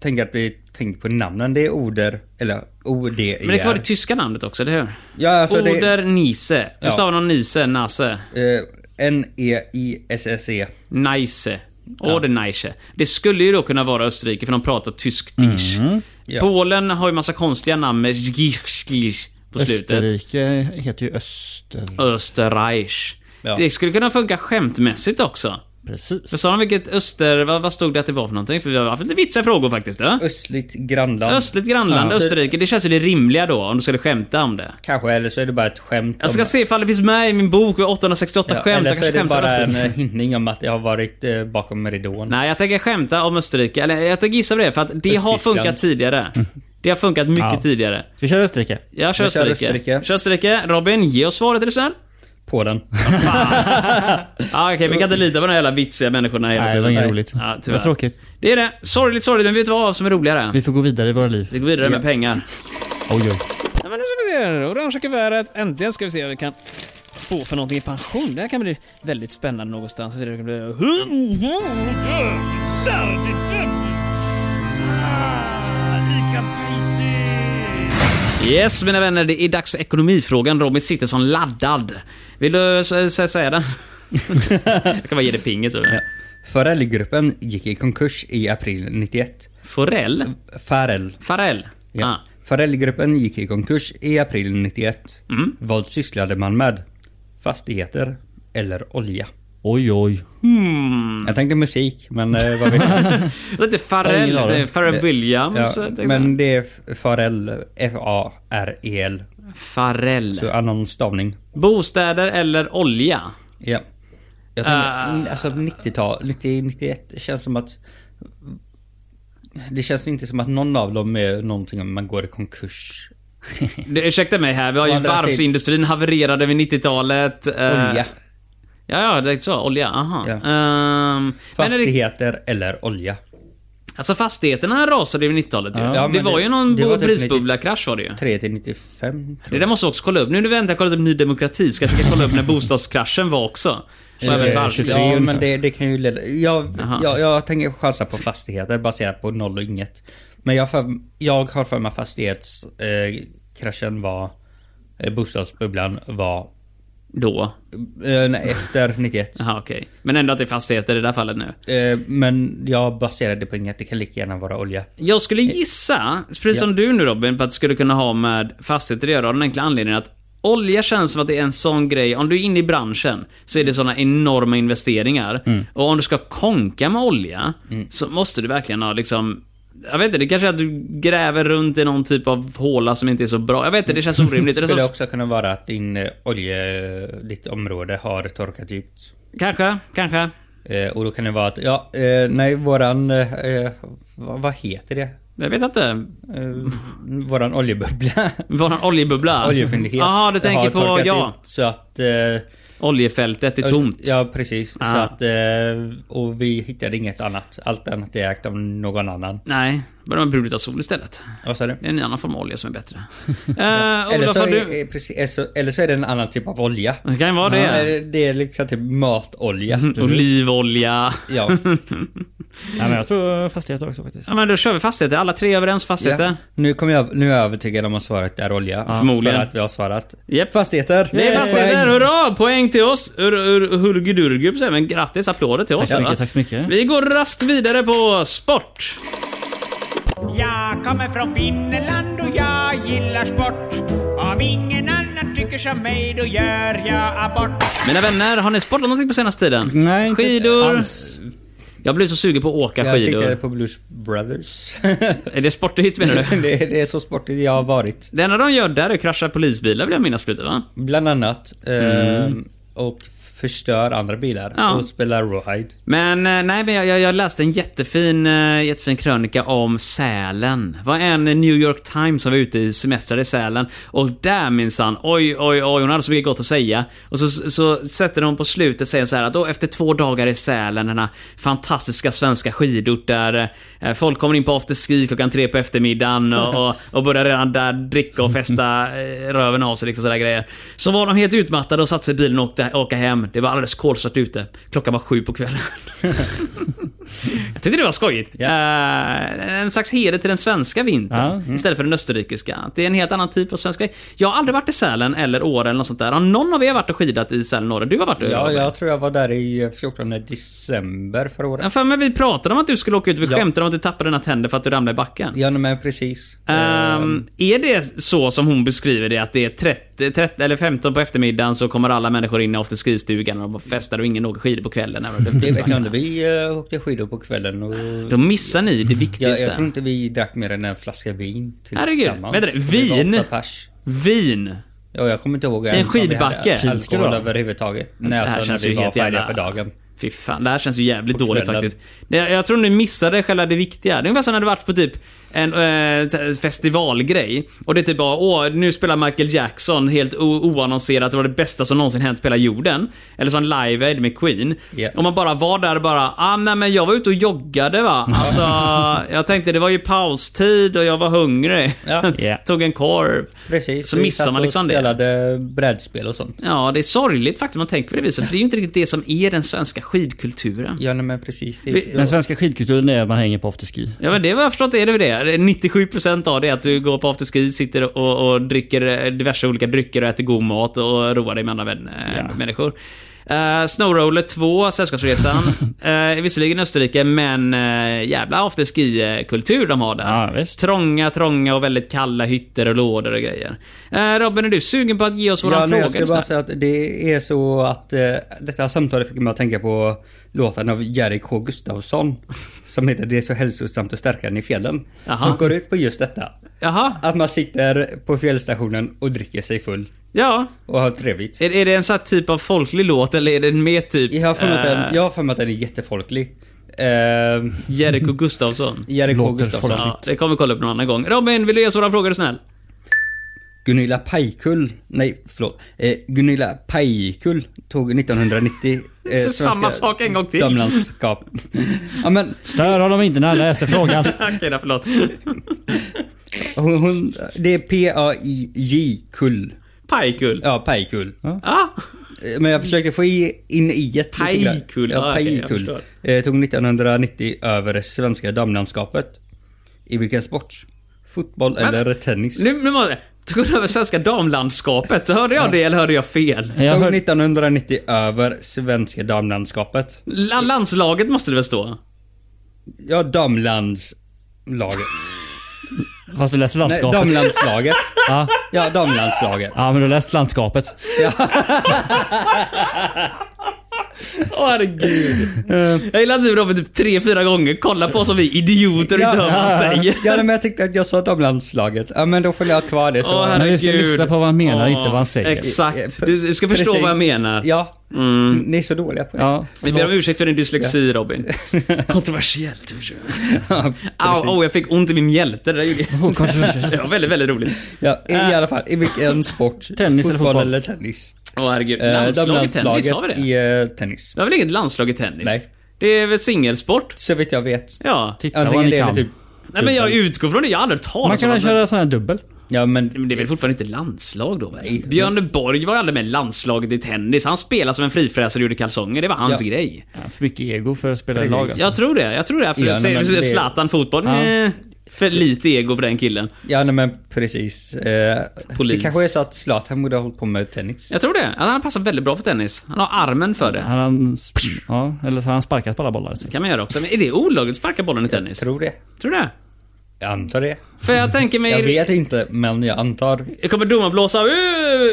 S3: tänka att vi tänker på namnen. Det är Oder, eller E ODER.
S1: Men det kan vara det tyska namnet också, eller hur?
S3: Ja, alltså det-
S1: Oder Nise. Hur
S3: Ja.
S1: stavar någon Nise? Nase?
S3: Eh, N-E-I-S-S-E.
S1: Neisse. Oder Neisse. Det skulle ju då kunna vara Österrike, för de pratar tysk-tisch.
S3: Mm, Ja.
S1: Polen har ju massa konstiga namn med zgisch på slutet.
S2: Österrike heter ju Öster...
S1: Österreich.
S3: Ja.
S1: Det skulle kunna funka skämtmässigt också.
S2: Precis.
S1: För sa de vilket öster... Vad, vad stod det att det var för någonting? För vi har haft lite vitsiga frågor faktiskt. Då?
S3: Östligt grannland.
S1: Östligt grannland,
S3: Ja.
S1: Österrike. Det känns ju det rimliga då, om du skulle skämta om det.
S3: Kanske, eller så är det bara ett skämt.
S1: Jag ska
S3: om,
S1: se ifall det finns med i min bok med 868
S3: ja,
S1: skämt.
S3: Eller
S1: Jag
S3: så
S1: kanske
S3: är det
S1: skämtar
S3: bara en
S1: Österrike.
S3: eh, hinning om att jag har varit eh, bakom ridån.
S1: Nej, jag tänker skämta om Österrike. Eller jag tänker gissa på det, för att det har
S3: Östtyskland.
S1: funkat tidigare. Det har funkat mycket
S2: Mm. Ja.
S1: tidigare.
S2: Ska vi köra Österrike?
S1: Jag kör
S3: Jag kör
S1: Österrike.
S3: Österrike.
S1: Kör Österrike. Robin, ge oss svaret är du snäll.
S3: På den.
S1: Ah, Okej, vi kan inte lita på de här jävla vitsiga människorna hela
S2: Nej, det
S1: tiden.
S2: var inget
S3: Nej.
S2: roligt.
S1: Ja,
S2: det
S1: tyvärr.
S2: var tråkigt.
S1: Det är det. Sorgligt, sorgligt, men vet du vad som är roligare?
S2: Vi får gå vidare i våra liv.
S1: Vi går vidare med pengar.
S2: Oj, oj.
S5: Ja, men nu ska vi se här. Orangea kuvertet. Äntligen ska vi se vad vi kan få för någonting i pension. Det här kan bli väldigt spännande någonstans. Så Det kan bli...
S1: Mm-hmm.
S5: Jävlar, det där. Ah, Lika prisigt!
S1: Yes, mina vänner. Det är dags för ekonomifrågan. Robin sitter som laddad. Vill du s- s- säga den? jag kan bara ge dig pinget. Så.
S3: Farellgruppen gick i konkurs i april 91.
S1: Forell?
S3: Farell.
S1: Farell?
S3: Ja.
S1: Ah.
S3: Farellgruppen gick i konkurs i april 91.
S1: Mm.
S3: Vad sysslade man med? Fastigheter eller olja?
S2: Oj, oj.
S1: Mm.
S3: Jag tänkte musik, men eh, vad vet jag?
S1: Hmm. Lite
S2: Jag har ingen aning.
S1: Farrell, Farrell Williams.
S3: ja,
S1: till exempel.
S3: men det är F- Farell, F-A-R-E-L.
S1: Farrell.
S3: Så annan stavning.
S1: Bostäder eller olja?
S3: Ja. Jag
S1: Ah.
S3: tänker, alltså 90-tal, 90, 91 det känns som att... Det känns inte som att någon av dem är någonting om man går i konkurs.
S1: Det, ursäkta mig här, vi har
S3: Å
S1: ju
S3: andra
S1: varvsindustrin havererade vid 90-talet. eh,
S3: Olja,
S1: Ja, ja, det är så. Olja. Aha.
S3: Ja.
S1: Ehm, men är det,
S3: fastigheter eller olja.
S1: alltså fastigheterna rasade vid 90-talet ju.
S3: Ja, men
S1: Det
S3: det-
S1: var ju någon
S3: det var
S1: bo-
S3: typ
S1: prisbubbla-krasch var det ju.
S3: 3 till 95 tror
S1: Det där måste jag också kolla upp. Nu när vi väntar jag kollat upp Ny Demokrati, ska jag försöka kolla upp när bostadskraschen var också. Så
S2: Eh,
S1: även
S3: jag.
S2: 23
S1: varvskrisen.
S3: Ja,
S2: ungefär.
S3: men det, det kan ju leda... Jag,
S1: Aha.
S3: jag, jag tänker chansa på fastigheter baserat på noll och inget. Men jag, för, jag har för mig fastighetskraschen var... Eh, bostadsbubblan var...
S1: Då.
S3: Eh, nej, efter 91.
S1: Jaha, okej. Men ändå att det är fastigheter i det där fallet nu.
S3: Eh, men jag baserade det på inget. Det kan lika gärna vara olja.
S1: Jag skulle gissa, precis som du nu Robin, på att det skulle kunna ha med fastigheter att göra av den enkla anledningen att olja känns som att det är en sån grej, om du är inne i branschen så är det såna enorma investeringar. Och om du ska konka med olja så måste du verkligen ha liksom jag vet inte, det kanske är att du gräver runt i någon typ av håla som inte är så bra. Jag vet inte, det känns orimligt.
S3: Det
S1: det är
S3: skulle
S1: så,
S3: också kunna vara att din eh, olje... Ditt område har torkat ut.
S1: Kanske, kanske.
S3: Eh, och då kan det vara att... Ja, eh, nej, våran... Eh, eh, vad, vad heter det?
S1: Jag vet inte.
S3: Eh, våran oljebubbla.
S1: Vår oljebubbla.
S3: Oljefyndighet.
S1: Jaha, Ah, du tänker
S3: har
S1: på,
S3: torkat
S1: ja.
S3: ut, Så att... eh,
S1: Oljefältet är tomt.
S3: Ja, precis.
S1: Ah.
S3: Så att... eh, Och vi hittade inget annat. Allt annat är ägt av någon annan.
S1: Nej, börjar man bruta sol istället.
S3: Vad sa du?
S1: Det är en annan form av olja som är bättre. uh,
S3: Eller
S1: Olof,
S3: så,
S1: har
S3: är,
S1: du...
S3: är, precis, är så, eller så är det en annan typ av olja.
S1: Det kan ju vara
S3: Ja,
S1: det.
S3: eller det är liksom typ matolja.
S1: Mm. Olivolja.
S3: Ja.
S2: Ja, men jag tror fastigheter också faktiskt.
S1: Ja, men då kör vi fastigheter. Alla tre är överens fastigheter.
S3: ja. Nu, kommer jag, nu är jag övertygad om att svaret är olja.
S1: förmodligen.
S3: För att vi har svarat.
S1: Japp.
S3: Fastigheter.
S1: Det är fastigheter,
S3: Poäng.
S1: hurra! Poäng till oss! Ur, ur, hurgudurgub, säger vi. men grattis, applåder till oss.
S2: så mycket,
S1: va?
S2: tack så mycket.
S1: Vi går raskt vidare på sport.
S5: Jag kommer från Finland och jag gillar sport. Om ingen annan tycker som mig då gör jag abort.
S1: Mina vänner, har ni sportat någonting på senaste tiden?
S2: Nej, inte
S1: Skidor?
S2: alls.
S1: Jag blev så sugen på att åka
S3: Jag
S1: skidor.
S3: tittade på Blues Brothers.
S1: Är det sportigt menar du?
S3: det, är- det är så sportigt jag har varit.
S1: Det enda de gör där är att krascha polisbilar vill jag minnas på slutet va?
S3: Bland annat. ehm, och förstör andra bilar
S1: Mm. Ja.
S3: och spelar Ride.
S1: Men eh, nej, men jag, jag, jag läste en jättefin, eh, jättefin krönika om Sälen. Det var en New York Times som var ute i semestrar i Sälen. Och där minsann, oj, oj, oj, hon hade så mycket gott att säga. Och så, så sätter hon på slutet säger så här att "Åh, efter två dagar i Sälen, denna fantastiska svenska skidort där eh, folk kommer in på afterski klockan tre på eftermiddagen och, och, och börjar redan där dricka och festa eh, röven av sig liksom sådär grejer. Så var de helt utmattade och satte sig i bilen och åkte, åka hem. Det var alldeles kolsvart ute. Klockan var sju på kvällen. Jag tyckte det var skojigt. Eh, en slags heder till den svenska vintern
S2: Ja, mm.
S1: istället för den österrikiska. Att Det är en helt annan typ av svensk grej. Jag har aldrig varit i Sälen eller Åre eller något sånt där. Har någon av er varit och skidat i Sälen och Åre? Du har varit där,
S3: Ja,
S1: Robert.
S3: jag tror jag var där i 14 december förra året.
S1: Ja, för men vi pratade om att du skulle åka ut. Vi
S3: Ja.
S1: skämtade om att du tappade dina tänder för att du ramlade i backen.
S3: Ja, nej, men precis. Eh,
S1: Ehm, är det så som hon beskriver det, att det är 30, 30 eller 15 på eftermiddagen så kommer alla människor in i afterski-stugan och bara festar och ingen åker skidor på kvällen? även om det är
S3: Det vet jag inte.
S1: festival?
S3: Vi eh, åkte skidor på kvällen och...
S1: Då missar ni det
S3: Ja,
S1: viktigaste.
S3: jag tror inte vi drack mer än en flaska vin
S1: Herregud,
S3: tillsammans.
S1: vänta,
S3: Och vi var
S1: vin?
S3: åtta Pers.
S1: Vin.
S3: Ja, jag kommer inte ihåg
S1: en
S3: ens om vi hade
S1: skidbacke.
S3: Alkohol
S2: Fint ska det vara.
S3: överhuvudtaget. Nej,
S1: här
S3: alltså när
S1: känns
S3: vi
S1: ju
S3: var
S1: helt
S3: färdiga
S1: jävla-
S3: för dagen.
S1: Fy fan, det här känns ju jävligt
S3: På
S1: dåligt
S3: kvällen.
S1: faktiskt. Jag, jag tror ni missade själva det viktiga. Det är ungefär som när du varit på typ en eh, så här festivalgrej. Och det är typ bara, åh, nu spelar Michael Jackson helt o- oannonserat. Det var det bästa som någonsin hänt på hela jorden. Eller som Live Aid med Queen.
S3: Ja.
S1: Om man bara var där och bara, ah, nej men jag var ute och joggade va. Alltså, jag tänkte det var ju paustid och jag var hungrig.
S3: Ja.
S2: Ja.
S1: Tog en korv.
S3: Precis.
S1: Så
S3: vi
S1: missar
S3: satt
S1: man liksom
S3: och
S1: det.
S3: spelade brädspel och sånt.
S1: Ja, det är sorgligt faktiskt om man tänker på det viset. För det är ju inte riktigt det som är den svenska skidkulturen.
S3: Ja, nej, men precis. Det är
S1: Vi-
S3: så-
S2: Den svenska skidkulturen är att man hänger på afterski.
S1: Ja men det var jag förstått är det väl det. 97% av det är att du går på afterski, sitter och, och dricker eh, diverse olika drycker och äter god mat och roar dig med andra vän, eh, människor. Eh, Snowroller 2, Sällskapsresan. uh, visserligen Österrike, men eh, jävla afterski-kultur de har där.
S2: Ja, visst.
S1: Trånga, trånga och väldigt kalla hytter och lådor och grejer. Eh, Robin, är du sugen på att ge oss våran
S3: Ja,
S1: fråga?
S3: nej, jag skulle
S1: lyssnare?
S3: bara säga att det är så att eh, detta samtalet fick mig att tänka på låten av Jerry K Gustafsson som heter Det är så hälsosamt och stärkande i fjällen.
S1: Jaha.
S3: Som går ut på just detta.
S1: Jaha,
S3: Att man sitter på fjällstationen och dricker sig full
S1: ja.
S3: och har trevligt.
S1: Är, är det en sån här typ av folklig låt eller är det mer typ...
S3: Jag har för mig att
S1: eh,
S3: den, jag har för mig att den är jättefolklig. Uh,
S1: Jerker Gustafsson?
S3: Jerry K
S2: Låter
S3: Gustafsson.
S2: folkligt.
S1: Ja, det kommer vi kolla upp någon annan gång. Robin, vill du ge sådana frågor är du snäll?
S2: Eh,
S3: Gunilla Pajkull, nej förlåt, eh, Gunilla Pajkull tog 1990 eh,
S1: Så samma
S3: Svenska
S1: sak en gång till.
S3: Damelandskap. ja, men,
S2: Stör honom inte när han läser frågan.
S1: Okej då, förlåt.
S3: hon, hon, det är P-A-I-J-kull.
S1: Pajkull.
S3: Ja, Pajkull.
S1: Ah,
S3: Eh, Men jag försökte få i, in i ett lite grann.
S1: Pajkull,
S3: Ja,
S1: ah, okej, jag
S3: Pajkull.
S1: förstår.
S3: eh, tog 1990 över svenska damlandskapet. I vilken sport? Fotboll eller tennis?
S1: nu, nu måste jag... Tog hon över svenska damlandskapet? Så Hörde jag det eller hörde jag fel?
S2: Jag
S3: Tog
S2: hör,
S3: 1990 över svenska damlandskapet.
S1: La- landslaget måste det väl stå?
S3: Ja, damlandslaget.
S2: fast du läser
S3: Nej,
S2: landskapet.
S3: damlandslaget.
S2: Ja.
S3: Ja, damlandslaget.
S2: ja, men du har läst landskapet.
S1: Åh herregud. Eh, jag gillar att du Robin typ tre, fyra gånger kollar på oss som vi idioter och inte hör vad han säger.
S3: Ja, men jag tyckte att jag sa damlandslaget. Ja, men då får jag ha kvar det. Så. Eh,
S1: Åh
S2: Men
S1: herregud.
S2: vi ska lyssna på vad han menar,
S1: Åh,
S2: inte vad han säger.
S1: Exakt. Du ska förstå
S3: Precis.
S1: vad jag menar. Mm.
S3: Ja. Ni är så dåliga på det.
S2: Ja,
S1: Vi ber om
S2: förlåt.
S1: ursäkt för din dyslexi Robin. Kontroversiellt. Au,
S3: precis.
S1: au, jag fick ont i min mjälte. Det där gjorde jag.
S2: Åh, kontroversiellt.
S1: Det var väldigt, väldigt roligt.
S3: Ja, i,
S1: Äh.
S3: alla fall, i vilken sport?
S2: Tennis eller fotboll?
S3: eller tennis?
S1: Åh herregud.
S3: Eh,
S1: Landslag i
S3: damlandslaget
S1: tennis, sa vi det?
S3: i eh, tennis.
S1: Vi har väl inget landslag i tennis?
S3: Nej.
S1: Det är väl singelsport?
S3: Så vitt jag vet.
S1: Ja.
S2: Titta vad
S3: Antingen
S2: ni
S3: det eller
S2: kan.
S3: typ...
S1: Nej men jag utgår från det, jag har aldrig hört
S2: Man
S1: talas
S2: kan
S1: om
S2: väl
S1: att-
S2: köra sån här dubbel?
S3: Ja, men...
S1: Men det är väl fortfarande inte landslag då? Nej. Björn Borg var ju aldrig med i landslaget i tennis. Han spelade som en frifräsare och gjorde kalsonger. Det var hans
S3: Ja.
S1: grej.
S2: Ja, för mycket ego för att spela i lag alltså.
S1: Jag tror det. Jag tror det. För
S3: Ja, nej, men det-
S1: Zlatan fotboll?
S2: Ja.
S1: Eh, för lite ego för den killen.
S3: Ja, nej, men precis. Eh,
S1: Polis.
S3: Det kanske är så att Zlatan borde ha hållit på med tennis.
S1: Jag tror det. Han har passat väldigt bra för tennis. Han har armen för det.
S2: Har han, sp- ja, eller så har han sparkat på alla bollar. Så.
S1: Det kan man göra också. Men är det olagligt att sparka bollen i tennis?
S3: Tror det.
S1: Tror du det?
S3: Jag antar det.
S1: För jag tänker mig...
S3: Jag vet inte, men jag antar.
S1: Jag kommer domaren blåsa "Öh,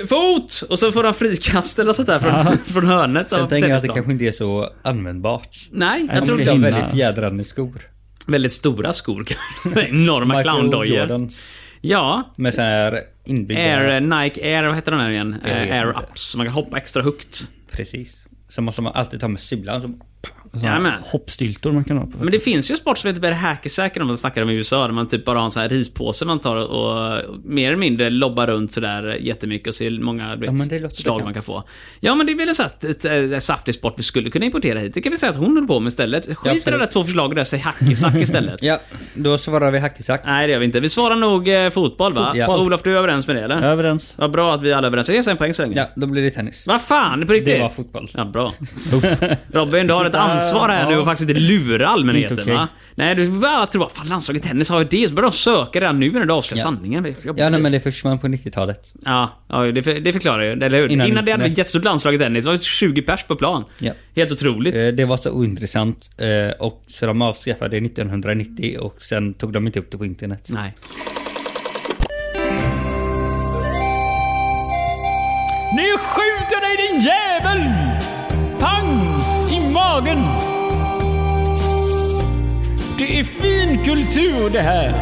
S1: fot! Och så får han frikast eller sånt där från, från hörnet av
S3: Sen tänker jag att det
S1: tennisplan.
S3: kanske inte är så användbart.
S1: Nej, jag
S2: Man
S1: tror
S2: ska
S1: inte.
S3: De har
S2: hinna.
S3: väldigt fjädrande skor.
S1: Väldigt stora skor. Enorma clowndojor.
S3: Jordans.
S1: Ja.
S3: Med sån här inbyggda...
S1: Air, Nike Air, vad heter den här igen?
S3: Jag vet
S1: Eh, Air
S3: inte.
S1: Ups. Så man kan hoppa extra högt.
S3: Precis. Sen måste man alltid ta med sulan. Så...
S1: Jajamän.
S2: Hoppstyltor man kan ha på.
S1: Men det finns ju sport som heter hackersäker om man snackar om i USA, där man typ bara har en sån här rispåse man tar och, och mer eller mindre lobbar runt sådär jättemycket och ser många du
S3: Ja, men
S1: vet,
S3: det låter
S1: slag man kan
S3: bekant.
S1: få. Ja, men det är väl en sån här ett, ett, ett saftig sport vi skulle kunna importera hit. Det kan vi säga att hon håller på med istället. Skit i de där två förslagen där, säg hackersack istället.
S3: Ja, då svarar vi hackisack.
S1: Nej, det gör vi inte. Vi svarar nog eh, fotboll, va?
S3: Ja.
S1: Olof, du är överens med det, eller?
S2: Jag är överens.
S1: Vad bra att vi alla är överens. Ge oss en poäng så länge.
S3: Ja, då blir det tennis.
S1: Vad fan, på riktigt?
S3: Det var fotboll.
S1: Ja, bra. Robin, du har ett ansvar här nu och faktiskt inte lura allmänheten.
S2: Inte okej.
S1: va? Nej, du får alla tro att fan, landslaget i tennis har ju det, så börjar de söka redan nu när du avslöjar
S3: Ja.
S1: sanningen. Det är jobbigt.
S3: Ja, nej, men det försvann på 90-talet.
S1: ja, ja, det, för, det förklarar ju, eller hur? Innan,
S3: Innan
S1: det hade vi
S3: internet.
S1: jättestort landslag i tennis, det var 20 pers på plan.
S3: Ja.
S1: Helt otroligt.
S3: Eh, Det var så ointressant eh, och så de avskaffade det 1990 och sen tog de inte upp det på internet.
S1: Nej.
S5: Nu skjuter dig din jävel! Pang! I magen! Det är fin kultur det här.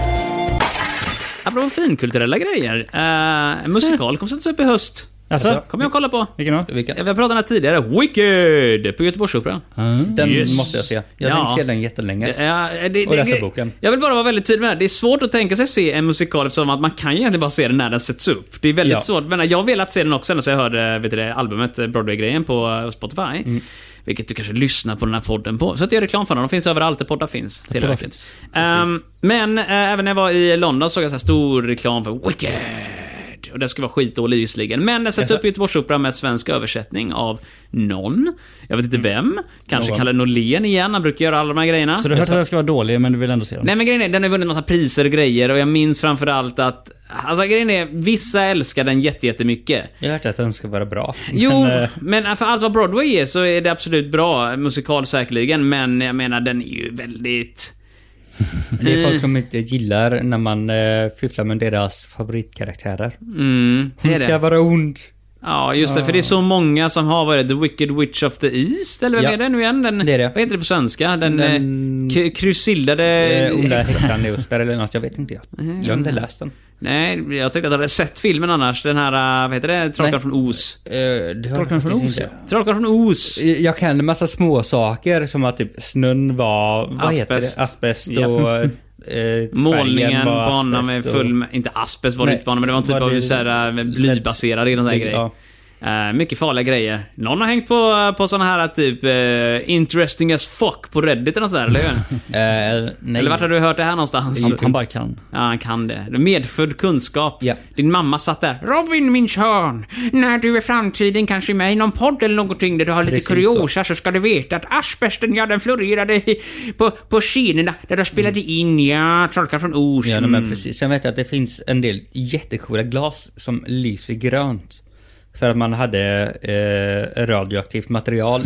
S1: Apropå finkulturella grejer. Eh, en musikal kommer sättas upp i höst.
S2: Alltså?
S1: Kommer jag kolla på.
S2: Vilken då?
S3: Vilken?
S1: Vi har pratat om det tidigare. Wicked! På Göteborgsoperan.
S3: Den
S1: Yes.
S3: måste jag se. Jag
S1: Ja.
S3: har inte sett den jättelänge.
S1: Ja, det, det,
S3: Och läsa
S1: det-
S3: boken.
S1: Jag vill bara vara väldigt tydlig med det här. Det är svårt att tänka sig se en musikal eftersom att man kan ju egentligen bara se den när den sätts upp. Det är väldigt
S3: Ja.
S1: svårt. Men jag har velat se den också ända sedan jag hörde vet du det, albumet, eh, Broadway-grejen på eh, Spotify.
S3: Mm.
S1: Vilket du kanske lyssnar på den här podden på. Så att jag gör reklam för den. De finns överallt där poddar finns. Tillräckligt. Ehm, men eh, även när jag var i London såg jag så här stor reklam för Wicked. Och den ska vara skitdålig visserligen. Men den sätts upp i Göteborgsoperan med svensk översättning av någon. Jag vet inte vem. Kanske
S3: Mm. Någon.
S1: Kalle Norlén igen. Han brukar göra alla de här grejerna.
S2: Så du har hört att den ska vara dålig, men du vill ändå se den?
S1: Nej men grejen är, den har vunnit massa priser och grejer och jag minns framförallt att Alltså grejen är, vissa älskar den jätte- jättemycket.
S3: Jag har hört att den ska vara bra.
S1: Jo,
S3: Men, eh,
S1: men, för allt vad Broadway är så är det absolut bra musikal säkerligen, men jag menar den är ju väldigt...
S3: det
S1: eh-
S3: är folk som inte gillar när man eh, fifflar med deras favoritkaraktärer.
S1: Mm, det
S3: Hon
S1: är
S3: ska
S1: det.
S3: vara ond.
S1: Ja, just det, för det är så många som har varit The Wicked Witch of the East, eller vem
S3: Ja,
S1: är det nu igen? Den,
S3: det är det.
S1: Vad heter det på svenska? Den, eh,
S3: Den-
S1: den... krusillade...
S3: Eh, onda hästan är ostar eller något, jag vet inte. Jag,
S1: Eh.
S3: jag har inte läst den.
S1: Nej, jag tyckte att jag hade sett filmen annars. Den här, eh, vad heter det? Trollkarlen
S3: Nej.
S1: från Oz.
S3: Eh, det har jag
S2: Torkan från
S3: faktiskt
S2: Oz,
S3: inte.
S1: Trollkarlen från Oz.
S3: Eh, Jag kan en massa små saker som att typ snön var... Vad
S1: Asbest.
S3: heter det? Asbest och...
S1: Ja.
S3: eh, färgen
S1: Målningen,
S3: var
S1: banan med
S3: asbest och-
S1: full... med- Inte asbest var det
S3: Nej,
S1: inte banan, men det var en typ
S3: var
S1: av
S3: det-
S1: såhär, blybaserad eller nån sån här
S3: Ja.
S1: grej. Eh, mycket farliga grejer. Någon har hängt på, på såna här typ eh, “interesting as fuck” på Reddit eller nåt sådär, eller hur?
S3: Eh, nej.
S1: Eller vart har du hört det här någonstans?
S2: Han, han bara kan.
S1: Ja, han kan det. Medfödd kunskap.
S3: Ja.
S1: Din mamma satt där. Robin, min son. När du i framtiden kanske är med i någon podd eller någonting där du har lite
S3: Precis
S1: kuriosa så. ska du veta att asbesten, ja den florerade i- på, på scenerna där de spelade in, ja, Trollkarlen från Oz.
S3: Ja, nej, men precis. Sen vet jag att det finns en del jättecoola glas som lyser grönt. För att man hade eh, radioaktivt material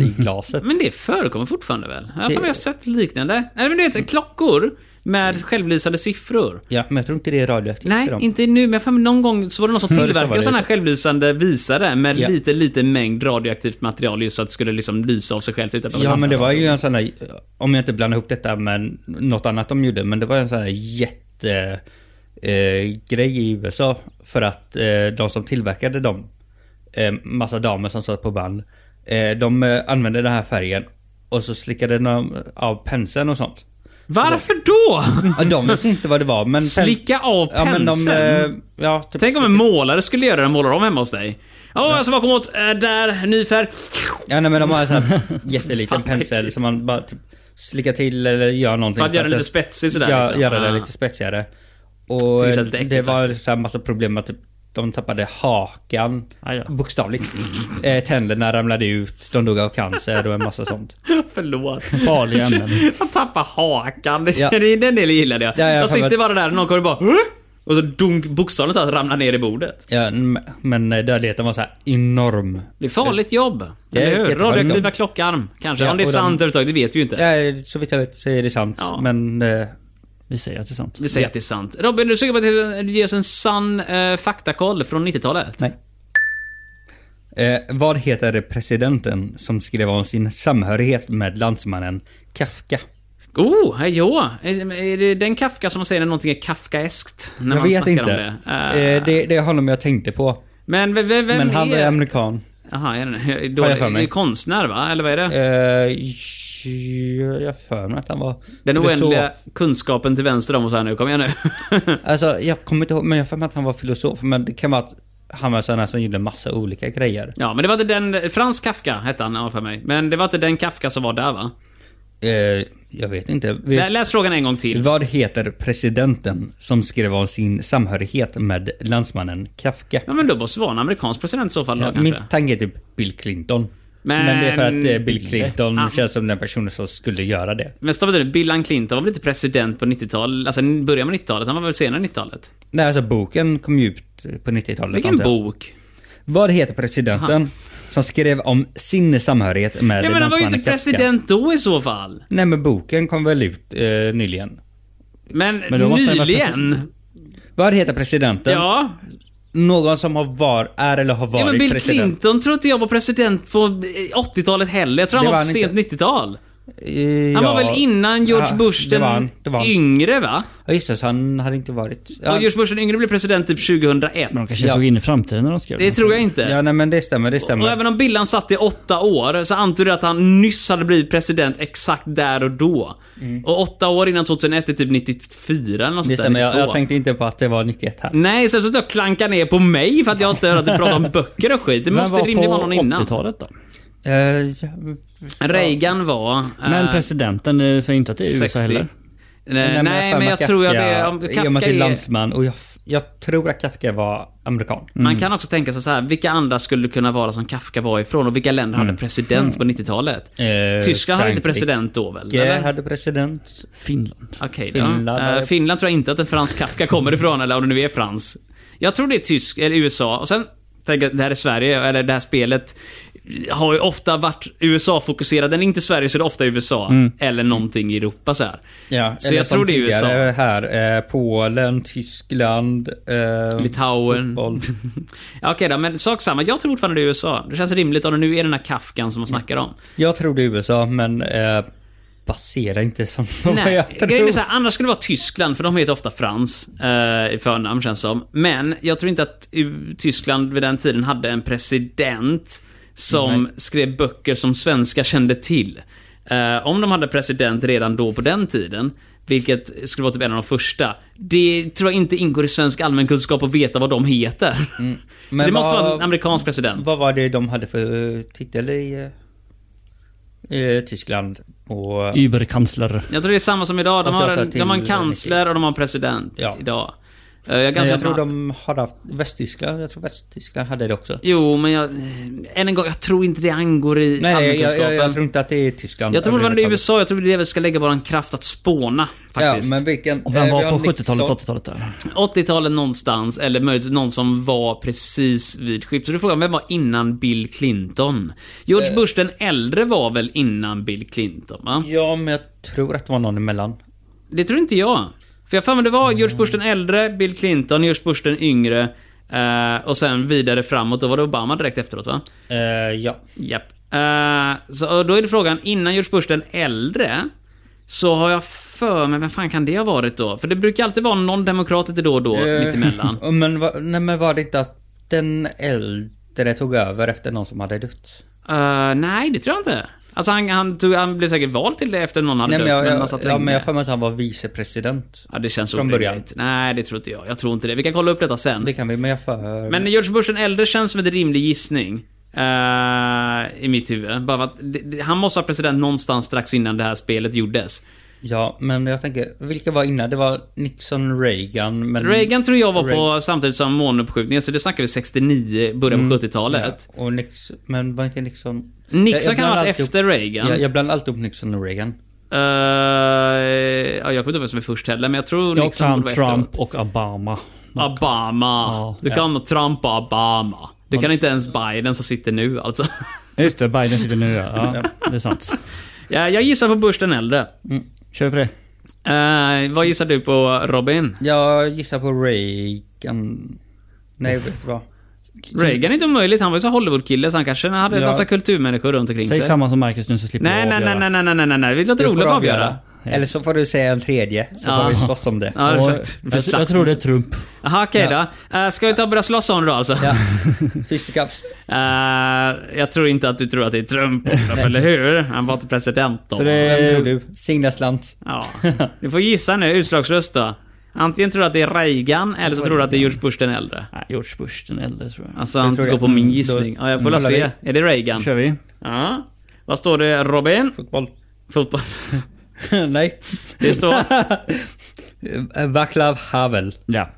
S3: i glaset.
S1: Men det förekommer fortfarande väl? Jag har
S3: Det-
S1: för mig jag har sett liknande. Nej, men du vet, så här, klockor med självlysande siffror.
S3: Ja, men jag tror inte det Mm. är radioaktivt
S1: Nej,
S3: för dem.
S1: inte nu, men jag har för mig någon gång så var det någon som
S3: Förr så var
S1: tillverkade
S3: det
S1: sådana här
S3: så.
S1: självlysande visare med
S3: Ja.
S1: lite, lite mängd radioaktivt material just så att det skulle liksom lysa av sig självt utan att behöva
S3: Ja, men det
S1: anstränga
S3: var
S1: sig.
S3: ju en sån här, om jag inte blandar ihop detta med något annat de gjorde, men det var en sån här jätte eh, grej i USA för att eh, de som tillverkade dem, eh, massa damer som satt på band, eh, de eh, använde den här färgen och så slickade de av penseln och sånt.
S1: Varför då?
S3: Ja, de visste inte vad det var, men... pen-
S1: Slicka av
S3: Ja, men de,
S1: penseln?
S3: eh, ja, typ
S1: Tänk om en
S3: slicka-
S1: målare skulle göra det, en målar om hemma hos dig. Ja, jag ska bara komma åt, eh, där, ny färg.
S3: Ja, nej, men de har en sån här jätteliten
S1: Fan, vad
S3: pensel
S1: äckligt.
S3: som man bara typ slickar till eller gör någonting.
S1: För att göra den lite spetsig sådär,
S3: Ja,
S1: liksom.
S3: göra den
S1: Ah.
S3: lite spetsigare.
S1: Tycker
S3: Och
S1: det
S3: det,
S1: känns lite äckligt
S3: var liksom så här massa problem med att typ, de tappade hakan.
S1: Ah,
S2: Aj då.
S3: Bokstavligt. eh, tänderna ramlade ut, de dog av cancer och en massa sånt.
S1: Förlåt.
S2: Farliga ämnen.
S1: Jag tappar hakan. Det,
S3: Ja.
S1: det, den delen gillade jag.
S3: Ja, jag
S1: jag
S3: kan
S1: sitter
S3: väl-
S1: bara där och någon kommer bara "Huh?" och så dunk, bokstavligt talat ramlar ner i bordet.
S3: Ja, m- men eh, dödligheten var så här enorm.
S1: Det är farligt jobb.
S3: Ja,
S1: eller hur?
S3: jättefarligt
S1: Radioaktiva
S3: jobb.
S1: klockarm, kanske.
S3: Ja,
S1: Om det är
S3: och de-
S1: sant överhuvudtaget, det vet vi ju inte.
S3: Ja, så vitt jag vet så är det sant.
S1: Ja.
S3: Men eh,
S2: Vi säger att det är sant.
S1: Vi säger att det är sant. Robin, är du sugen på att ge oss en sann eh, faktakoll från 90-talet?
S3: nej. Eh, vad heter presidenten som skrev om sin samhörighet med landsmannen Kafka?
S1: Oh, hej ja. Är är det den Kafka som säger när någonting är Kafkaeskt? När
S3: jag
S1: man
S3: vet
S1: snackar
S3: inte.
S1: Om det? Eh,
S3: Eh, det, det är honom jag tänkte på.
S1: Men v- v- vem
S3: men han är
S1: är...
S3: amerikan.
S1: Jaha, är den jag är
S3: Har jag
S1: dålig.
S3: för mig.
S1: Det är konstnär, va? Eller vad är det?
S3: Eh, jag jag har för mig att han var
S1: Den
S3: filosof.
S1: oändliga kunskapen till vänster om oss här nu. Kom igen nu.
S3: Alltså, jag kommer inte ihåg, men jag har för mig att han var filosof. Men det kan vara att han var en sån här som gjorde massa olika grejer.
S1: ja, men det var inte den... Frans Kafka hette han, ja, för mig. Men det var inte den Kafka som var där, va?
S3: Eh, jag vet inte.
S1: Lä-
S3: Vet,
S1: Läs frågan en gång till.
S3: vad heter presidenten som skrev om sin samhörighet med landsmannen Kafka?
S1: Ja, men då måste det vara en amerikansk president i så fall då,
S3: Ja,
S1: kanske.
S3: min tanke är typ Bill Clinton.
S1: Men-
S3: Men, det är för att eh, Bill Clinton
S1: Ah.
S3: känns som den personen som skulle göra det.
S1: Men stoppa nu, Bill Clinton var väl inte president på 90-talet? Alltså, början på 90-talet? Han var väl senare 90-talet?
S3: Nej, alltså boken kom ju ut på 90-talet.
S1: Vilken
S3: antar jag.
S1: bok?
S3: Vad heter presidenten som skrev om sin samhörighet med
S1: Ja, men han var ju
S3: landsmannen
S1: inte
S3: Kafka?
S1: president då i så fall.
S3: Nej, men boken kom väl ut eh, nyligen.
S1: Men,
S2: Men då måste han vara
S1: nyligen?
S3: Vad heter presidenten?
S1: Ja.
S3: Någon som har var, är eller har varit
S1: ja, men Bill
S3: president.
S1: Clinton tror inte jag var president på eh, 80-talet heller. Jag tror han
S3: Det
S1: var,
S3: var
S1: på
S3: han
S1: sent 90-tal.
S3: Eh,
S1: Han var
S3: ja.
S1: väl innan George
S3: Ja,
S1: Bush
S3: det
S1: den
S3: var han, det var han.
S1: yngre, va?
S3: Ja, just det, så han hade inte varit...
S1: Och
S3: Ja,
S1: George Bush den yngre blev president typ 2001.
S2: Men de kanske
S3: Ja.
S2: såg in i framtiden när de skrev
S1: Det
S2: den.
S1: tror jag inte.
S3: ja nej, men det stämmer, det
S1: Och
S3: stämmer.
S1: även om Billan satt i åtta år så antar du att han nyss hade blivit president exakt där och då. Och åtta år innan 2001 är typ 94 eller något sånt
S3: Mm. det
S1: där,
S3: stämmer, jag,
S1: 92.
S3: jag tänkte inte på att det var 91 här.
S1: Nej, sen så står jag och klankar ner på mig för att jag inte hör att du pratar om böcker och skit. Det
S2: Men
S1: måste
S2: var
S1: rimligen vara någon
S2: på
S1: innan.
S2: 80-talet då?
S3: Eh, ja,
S1: Reagan var...
S2: Men
S1: eh,
S2: presidenten eh, säger inte att det är i USA
S1: 60.
S2: heller.
S1: Nej,
S3: har
S1: Eh, nej men
S3: för mig
S1: jag
S3: Kafka-
S1: tror jag det... Om
S3: i och med att
S1: Kafka
S3: det är
S1: är,
S3: landsman och jag, jag tror att Kafka var amerikan.
S1: man kan också tänka sig så här, vilka andra skulle det kunna vara som Kafka var ifrån och vilka länder hade president på 90-talet?
S3: Mm. Eh,
S1: Tyskland hade inte
S3: Frankrike
S1: president då väl? eller?
S3: eh, hade president.
S2: Finland.
S1: Okej
S3: Finland
S1: då. Eh,
S3: hade-
S1: Finland tror jag inte att en fransk Kafka kommer ifrån, eller om det nu är frans. Jag tror det är tysk, eller USA. Och sen, tänker jag, det här är Sverige, eller det här spelet har ju ofta varit USA-fokuserad. Den är inte Sverige, så det är ofta USA. Eller någonting i Europa så här.
S3: Mm. Ja,
S1: Så
S3: eller
S1: jag
S3: som
S1: tror det är USA.
S3: tidigare Här, eh, Polen, Tyskland, eh,
S1: Litauen.
S3: fotboll.
S1: Ja, Okej då, men sak samma. Jag tror fortfarande det är USA. Det känns rimligt om det nu är den här Kafkan som man snackar om.
S3: Jag tror det är USA, men eh, basera inte som vad
S1: Nej,
S3: jag tror.
S1: grejen är så här, annars skulle det vara Tyskland, för de heter ofta Frans eh, i förnamn känns som. Men jag tror inte att U- Tyskland vid den tiden hade en president som skrev böcker som svenskar kände till. Eh, om de hade president redan då på den tiden, vilket skulle vara typ en av de första, det tror jag inte ingår i svensk allmänkunskap att veta vad de heter.
S3: Mm. Men
S1: Så det måste
S3: vad-
S1: vara en amerikansk president.
S3: Vad var det de hade för eh, titel i eh, eh, Tyskland? Och,
S1: Alltså,
S2: Überkansler.
S1: Jag tror det är samma som idag. De
S3: Och
S1: har
S3: data
S1: en, de har en
S3: till-
S1: kansler och de har en president
S3: Ja.
S1: idag. Eh, Jag, är
S3: Nej,
S1: ganska
S3: jag tror de har haft Västtyskland. Jag tror Västtyskland hade det också.
S1: Jo, men jag... Än en gång, jag tror inte det angår i
S3: Nej, jag, jag, jag
S1: allmänkunskapen.
S3: tror inte att det är Tyskland.
S1: Jag tror fortfarande det är USA, jag tror det är det vi ska lägga vår kraft att spåna.
S3: Ja,
S1: Faktiskt.
S3: men vilken...
S2: Och vem
S3: eh, vi
S2: var
S3: har
S2: på
S3: Nixon.
S2: 70-talet, 80-talet där?
S1: 80-talet någonstans, eller möjligtvis någon som var precis vid skiftet. Så du frågar, vem var innan Bill Clinton?
S3: Eh.
S1: George Bush den äldre var väl innan Bill Clinton, va?
S3: Ja, men jag tror att det var någon emellan.
S1: Det tror inte jag. För jag har för mig det var George Bush den äldre, Bill Clinton, George Bush den yngre. eh, och sen vidare framåt, då var det Obama direkt efteråt va?
S3: Eh, ja.
S1: Japp. Eh, så och då är det frågan, innan George Bush den äldre, så har jag för mig, vem fan kan det ha varit då? För det brukar alltid vara någon demokrat lite då och då,
S3: Eh,
S1: mittemellan.
S3: Men, va, nej, men var det inte att den äldre tog över efter någon som hade dött?
S1: Eh, nej, det tror jag inte. Alltså han, han, tog, han blev säkert vald till det efter någon hade
S3: Nej,
S1: dött,
S3: men jag,
S1: men
S3: jag,
S1: han satt
S3: ja,
S1: länge.
S3: men jag har för mig att han var vicepresident.
S1: ja, det känns
S3: från
S1: orimligt. Nej, det tror inte jag. Jag tror inte det. Vi kan kolla upp detta sen.
S3: Det kan vi, men jag för...
S1: Men George Bush den äldre känns som en rimlig gissning. eh, I mitt huvud. Bara för att, det- det- han måste ha president någonstans strax innan det här spelet gjordes.
S3: Ja, men jag tänker, vilka var innan? Det var Nixon, Reagan, men...
S1: Reagan tror jag var på samtidigt som månuppskjutningen, så det snackar vi 69, början på 70-talet.
S3: Ja, och Nixon, men var inte Nixon...
S1: Nixon kan ha
S3: blandar
S1: varit
S3: alltid
S1: efter
S3: upp,
S1: Reagan.
S3: Jag, jag blandar alltid upp Nixon och Reagan.
S1: Eh, ja, jag kommer inte ihåg vem som är först heller, men jag tror
S2: Jag,
S1: Nixon borde
S2: Trump,
S1: vara
S2: Trump
S1: efteråt.
S2: och Obama.
S1: Obama.
S2: Ja.
S1: du kan Trump och Obama. Du kan inte ens Biden som sitter nu alltså.
S2: Just det, Biden sitter nu ja. ja det är sant.
S1: ja, jag gissar på Bush den äldre.
S2: Kör på det.
S1: Eh, vad gissar du på Robin?
S3: Jag gissar på Reagan... Nej, vet du vad?
S1: Reagan är inte omöjligt. Han var ju så Hollywood-kille så han kanske hade en
S3: Ja.
S1: massa kulturmänniskor runt omkring
S2: Säg
S1: sig.
S2: samma som Marcus nu så slipper
S1: Nej,
S2: jag
S1: nej, nej,
S2: avgöra.
S1: nej, nej, nej, nej, nej. Vi låter
S3: Du får
S1: Olof avgöra.
S3: avgöra. Eller så får du säga en tredje, så
S1: Ja.
S3: får vi slåss om det.
S1: Ja,
S2: Och
S1: exakt.
S2: Jag, jag tror det är Trump.
S1: Jaha, okej då. Eh, ska vi ta och börja slåss om det då alltså?
S3: Ja. Fiskikaps.
S1: Eh, jag tror inte att du tror att det är Trump, Olof, eller hur? Han var inte president då.
S2: Så det
S3: Vem tror
S2: är
S3: du? Signa slant.
S1: Ja. Du får gissa nu, utslagsröst då. Antingen tror du att det är Reagan, eller så tror du att det är George Bush den äldre.
S2: Nej, George Bush den äldre tror jag.
S1: Alltså,
S3: Jag
S1: han
S3: tror
S1: går
S3: det.
S1: på min
S3: Mm, då-
S1: gissning. Ja, jag får väl
S3: kollar
S1: se. Är det Reagan?
S2: kör vi.
S1: Ja. Vad står det, Robin?
S3: Fotboll.
S1: Fotboll.
S3: Nej.
S1: Det står...
S3: Vaclav Havel.
S2: Ja.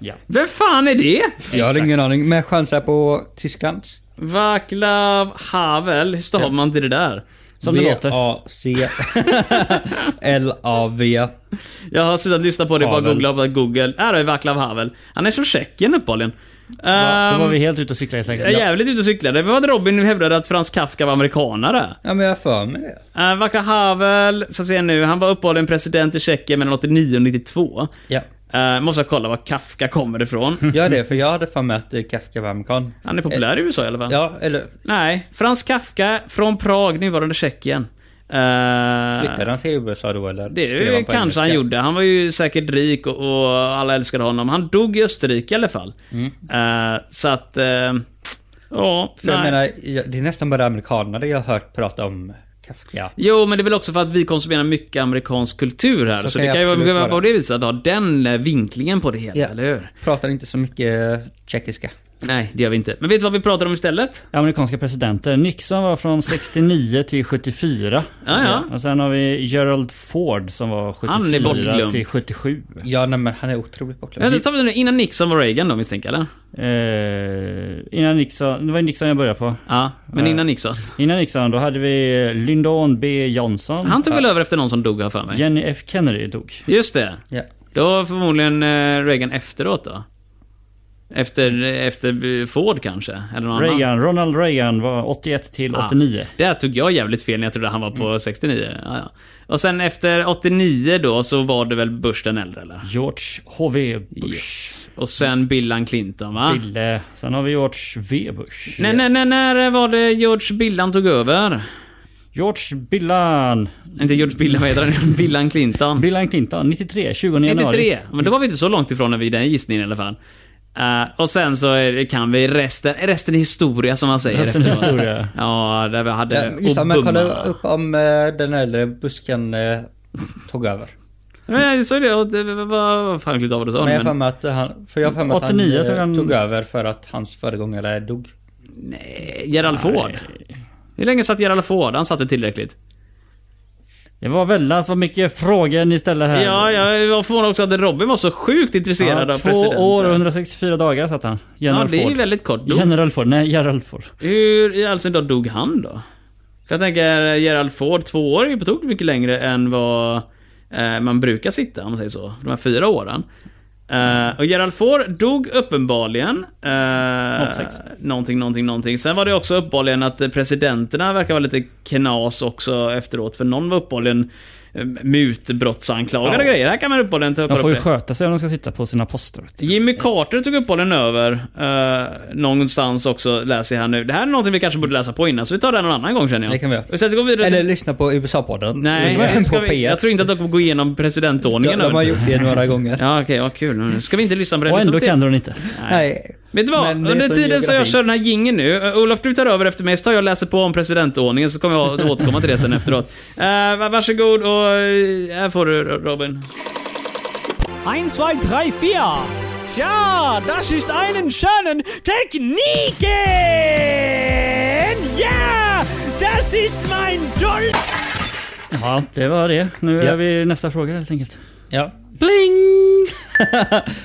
S2: ja.
S1: Vem fan är det?
S3: Jag har ingen aning, men jag chansar på Tyskland.
S1: Vaclav Havel. Hur stavar man till det där?
S2: Som det låter.
S3: V-A-C. L-A-V.
S1: Jag har slutat lyssna på det, bara
S3: Havel.
S1: googla på Google. Här har vi Vaclav Havel. Han är från Tjeckien uppenbarligen.
S2: Då var
S1: Ehm,
S2: vi helt ute och cyklade helt
S1: Jag är
S2: enkelt.
S1: jävligt ute och cyklade. Det var att Robin hävdade att Frans Kafka var amerikanare.
S3: Ja, men jag har för mig det.
S1: Uh, Vaclav Havel, så ser jag nu, han var uppehållen president i Tjeckien mellan 89 och 92.
S3: Ja.
S1: Eh, måste jag kolla var Kafka kommer
S2: Hm.
S1: ifrån.
S3: Gör det, för jag hade för mig att eh, Kafka var amerikan.
S1: Han är populär i USA i alla fall.
S3: Ja, eller
S1: Nej, Frans Kafka från Prag, nuvarande Tjeckien. Eh,
S3: flyttade han till USA då eller?
S1: Det
S3: skrev
S1: är ju
S3: på
S1: kanske han
S3: engelska?
S1: gjorde. Han var ju säkert rik och, och alla älskade honom. Han dog i Österrike i alla fall. Eh, så att... eh, ja,
S3: Mm. För jag
S1: nej.
S3: menar, jag- det är nästan bara amerikaner jag har hört prata om Kafka.
S1: Jo, men det är väl också för att vi konsumerar mycket amerikansk kultur här. Så,
S3: Så kan
S1: det
S3: jag
S1: kan ju vara-
S3: absolut
S1: vara på
S3: vara.
S1: det viset att ha den eh, vinklingen på det hela,
S3: Ja.
S1: eller hur?
S3: Pratar inte så mycket tjeckiska.
S1: Nej, det gör vi inte. Men vet du vad vi pratar om istället?
S2: Amerikanska presidenter. Nixon var från 69 till 74.
S1: Ja, ja.
S2: Och sen har vi Gerald Ford som var
S1: Han är
S2: 74
S1: bortglömd.
S2: till 77.
S3: Ja, nej, men han är otroligt bortglömd.
S1: Men så tar vi den innan Nixon var Reagan då, misstänker jag, eller?
S2: Eh, innan Nixon, det var Nixon jag började på.
S1: Ja, men
S2: Nej.
S1: innan Nixon.
S2: Innan Nixon då hade vi Lyndon B Johnson.
S1: Han tog väl över efter någon som dog, har jag för mig.
S2: Jenny F Kennedy dog.
S1: Just det.
S3: Ja.
S1: Då var förmodligen eh, Reagan efteråt då. Efter, efter Ford kanske? Eller någon annan.
S2: Reagan, Ronald Reagan var 81 till
S1: Ja.
S2: 89.
S1: Där tog jag jävligt fel när jag trodde han var på 69. Ja, ja. Och sen efter 89 då så var det väl Bush den äldre eller?
S2: George H.V. Bush.
S1: Yes. Och sen Billan Clinton va?
S2: Ville. Sen har vi George V. Bush.
S1: Nej, nej, nej, när var det George Billan tog över?
S2: George Billan.
S1: Inte George Billan, vad heter han? Billan Clinton.
S2: Billan Clinton, 93. 20 januari.
S1: 93. Men då var vi inte så långt ifrån när vi den gissningen i alla fall. Eh, och sen så är, kan vi resten, resten är historia som man säger
S2: Resten är
S1: efteråt.
S2: historia.
S1: Ja, där vi hade
S3: Ja, just det,
S1: Obama.
S3: men kolla upp om eh, den äldre busken eh, tog över.
S1: Men jag såg det, och det vad- vad fan glömde jag vad du sa.
S3: Men jag har för
S1: Men,
S3: mig att han, för jag har för mig att han,
S2: 89
S3: eh,
S2: tog han-
S3: tog över för att hans föregångare dog.
S1: nej, Gerald Ford. Hur länge satt Gerald Ford? Han satt väl tillräckligt?
S2: Det var väldigt vad mycket frågor ni ställer här.
S1: Ja, jag var förvånad också att Robin var så sjukt intresserad
S2: Ja,
S1: av
S2: två
S1: presidenten.
S2: år och 164 dagar satt han.
S1: Ja,
S2: General
S1: det är ju
S2: Ford.
S1: väldigt kort. Då
S2: General Ford, nej Gerald Ford.
S1: Hur i all sin dar dog han då? För jag tänker, Gerald Ford, två år är ju på tok mycket längre än vad eh, man brukar sitta, om man säger så. De här fyra åren. Eh, och Gerald Ford dog uppenbarligen. Eh,
S2: 06.
S1: någonting, någonting, någonting. Sen var det också uppenbarligen att eh, presidenterna verkar vara lite knas också efteråt. För någon var uppenbarligen eh, mutbrottsanklagad och
S2: Ja.
S1: grejer. Här kan man uppenbarligen ta upp
S2: De får ju
S1: det.
S2: sköta sig om de ska sitta på sina poster. vet du.
S1: Jimmy Carter tog upp bollen över eh, någonstans också, läser jag här nu. Det här är någonting vi kanske borde läsa på innan, så vi tar det någon annan gång känner jag.
S3: Det kan vi göra.
S1: Och sen går vi vidare
S3: Eller
S1: till...
S3: lyssna på USA-podden.
S1: Nej,
S3: Som är
S1: ska
S3: på
S1: vi,
S3: P1.
S1: jag tror inte att de kommer gå igenom presidentordningen.
S3: de, de har
S1: över.
S3: gjort det några gånger.
S1: Ja, okej, vad kul. Nu Ska vi inte lyssna på det?
S2: Och
S1: Lyssna
S2: ändå
S1: till-
S2: kan du den inte.
S3: Nej.
S1: Vet du vad?
S3: Men det är
S1: Under
S3: så
S1: tiden så jag
S3: geografi.
S1: kör den här gingen nu. Eh, Olof, du tar över efter mig, så tar jag och läser på om presidentordningen, så kommer jag att återkomma till det sen efteråt. Uh, varsågod och... eh, Här får du Robin.
S5: 1, 2, 3, 4. Ja, das ist einen schönen Techniken! Ja, das ist mein Dolch!
S2: Ja, det var det. Nu
S3: Ja.
S2: är vi nästa fråga helt enkelt.
S3: Ja.
S2: Bling!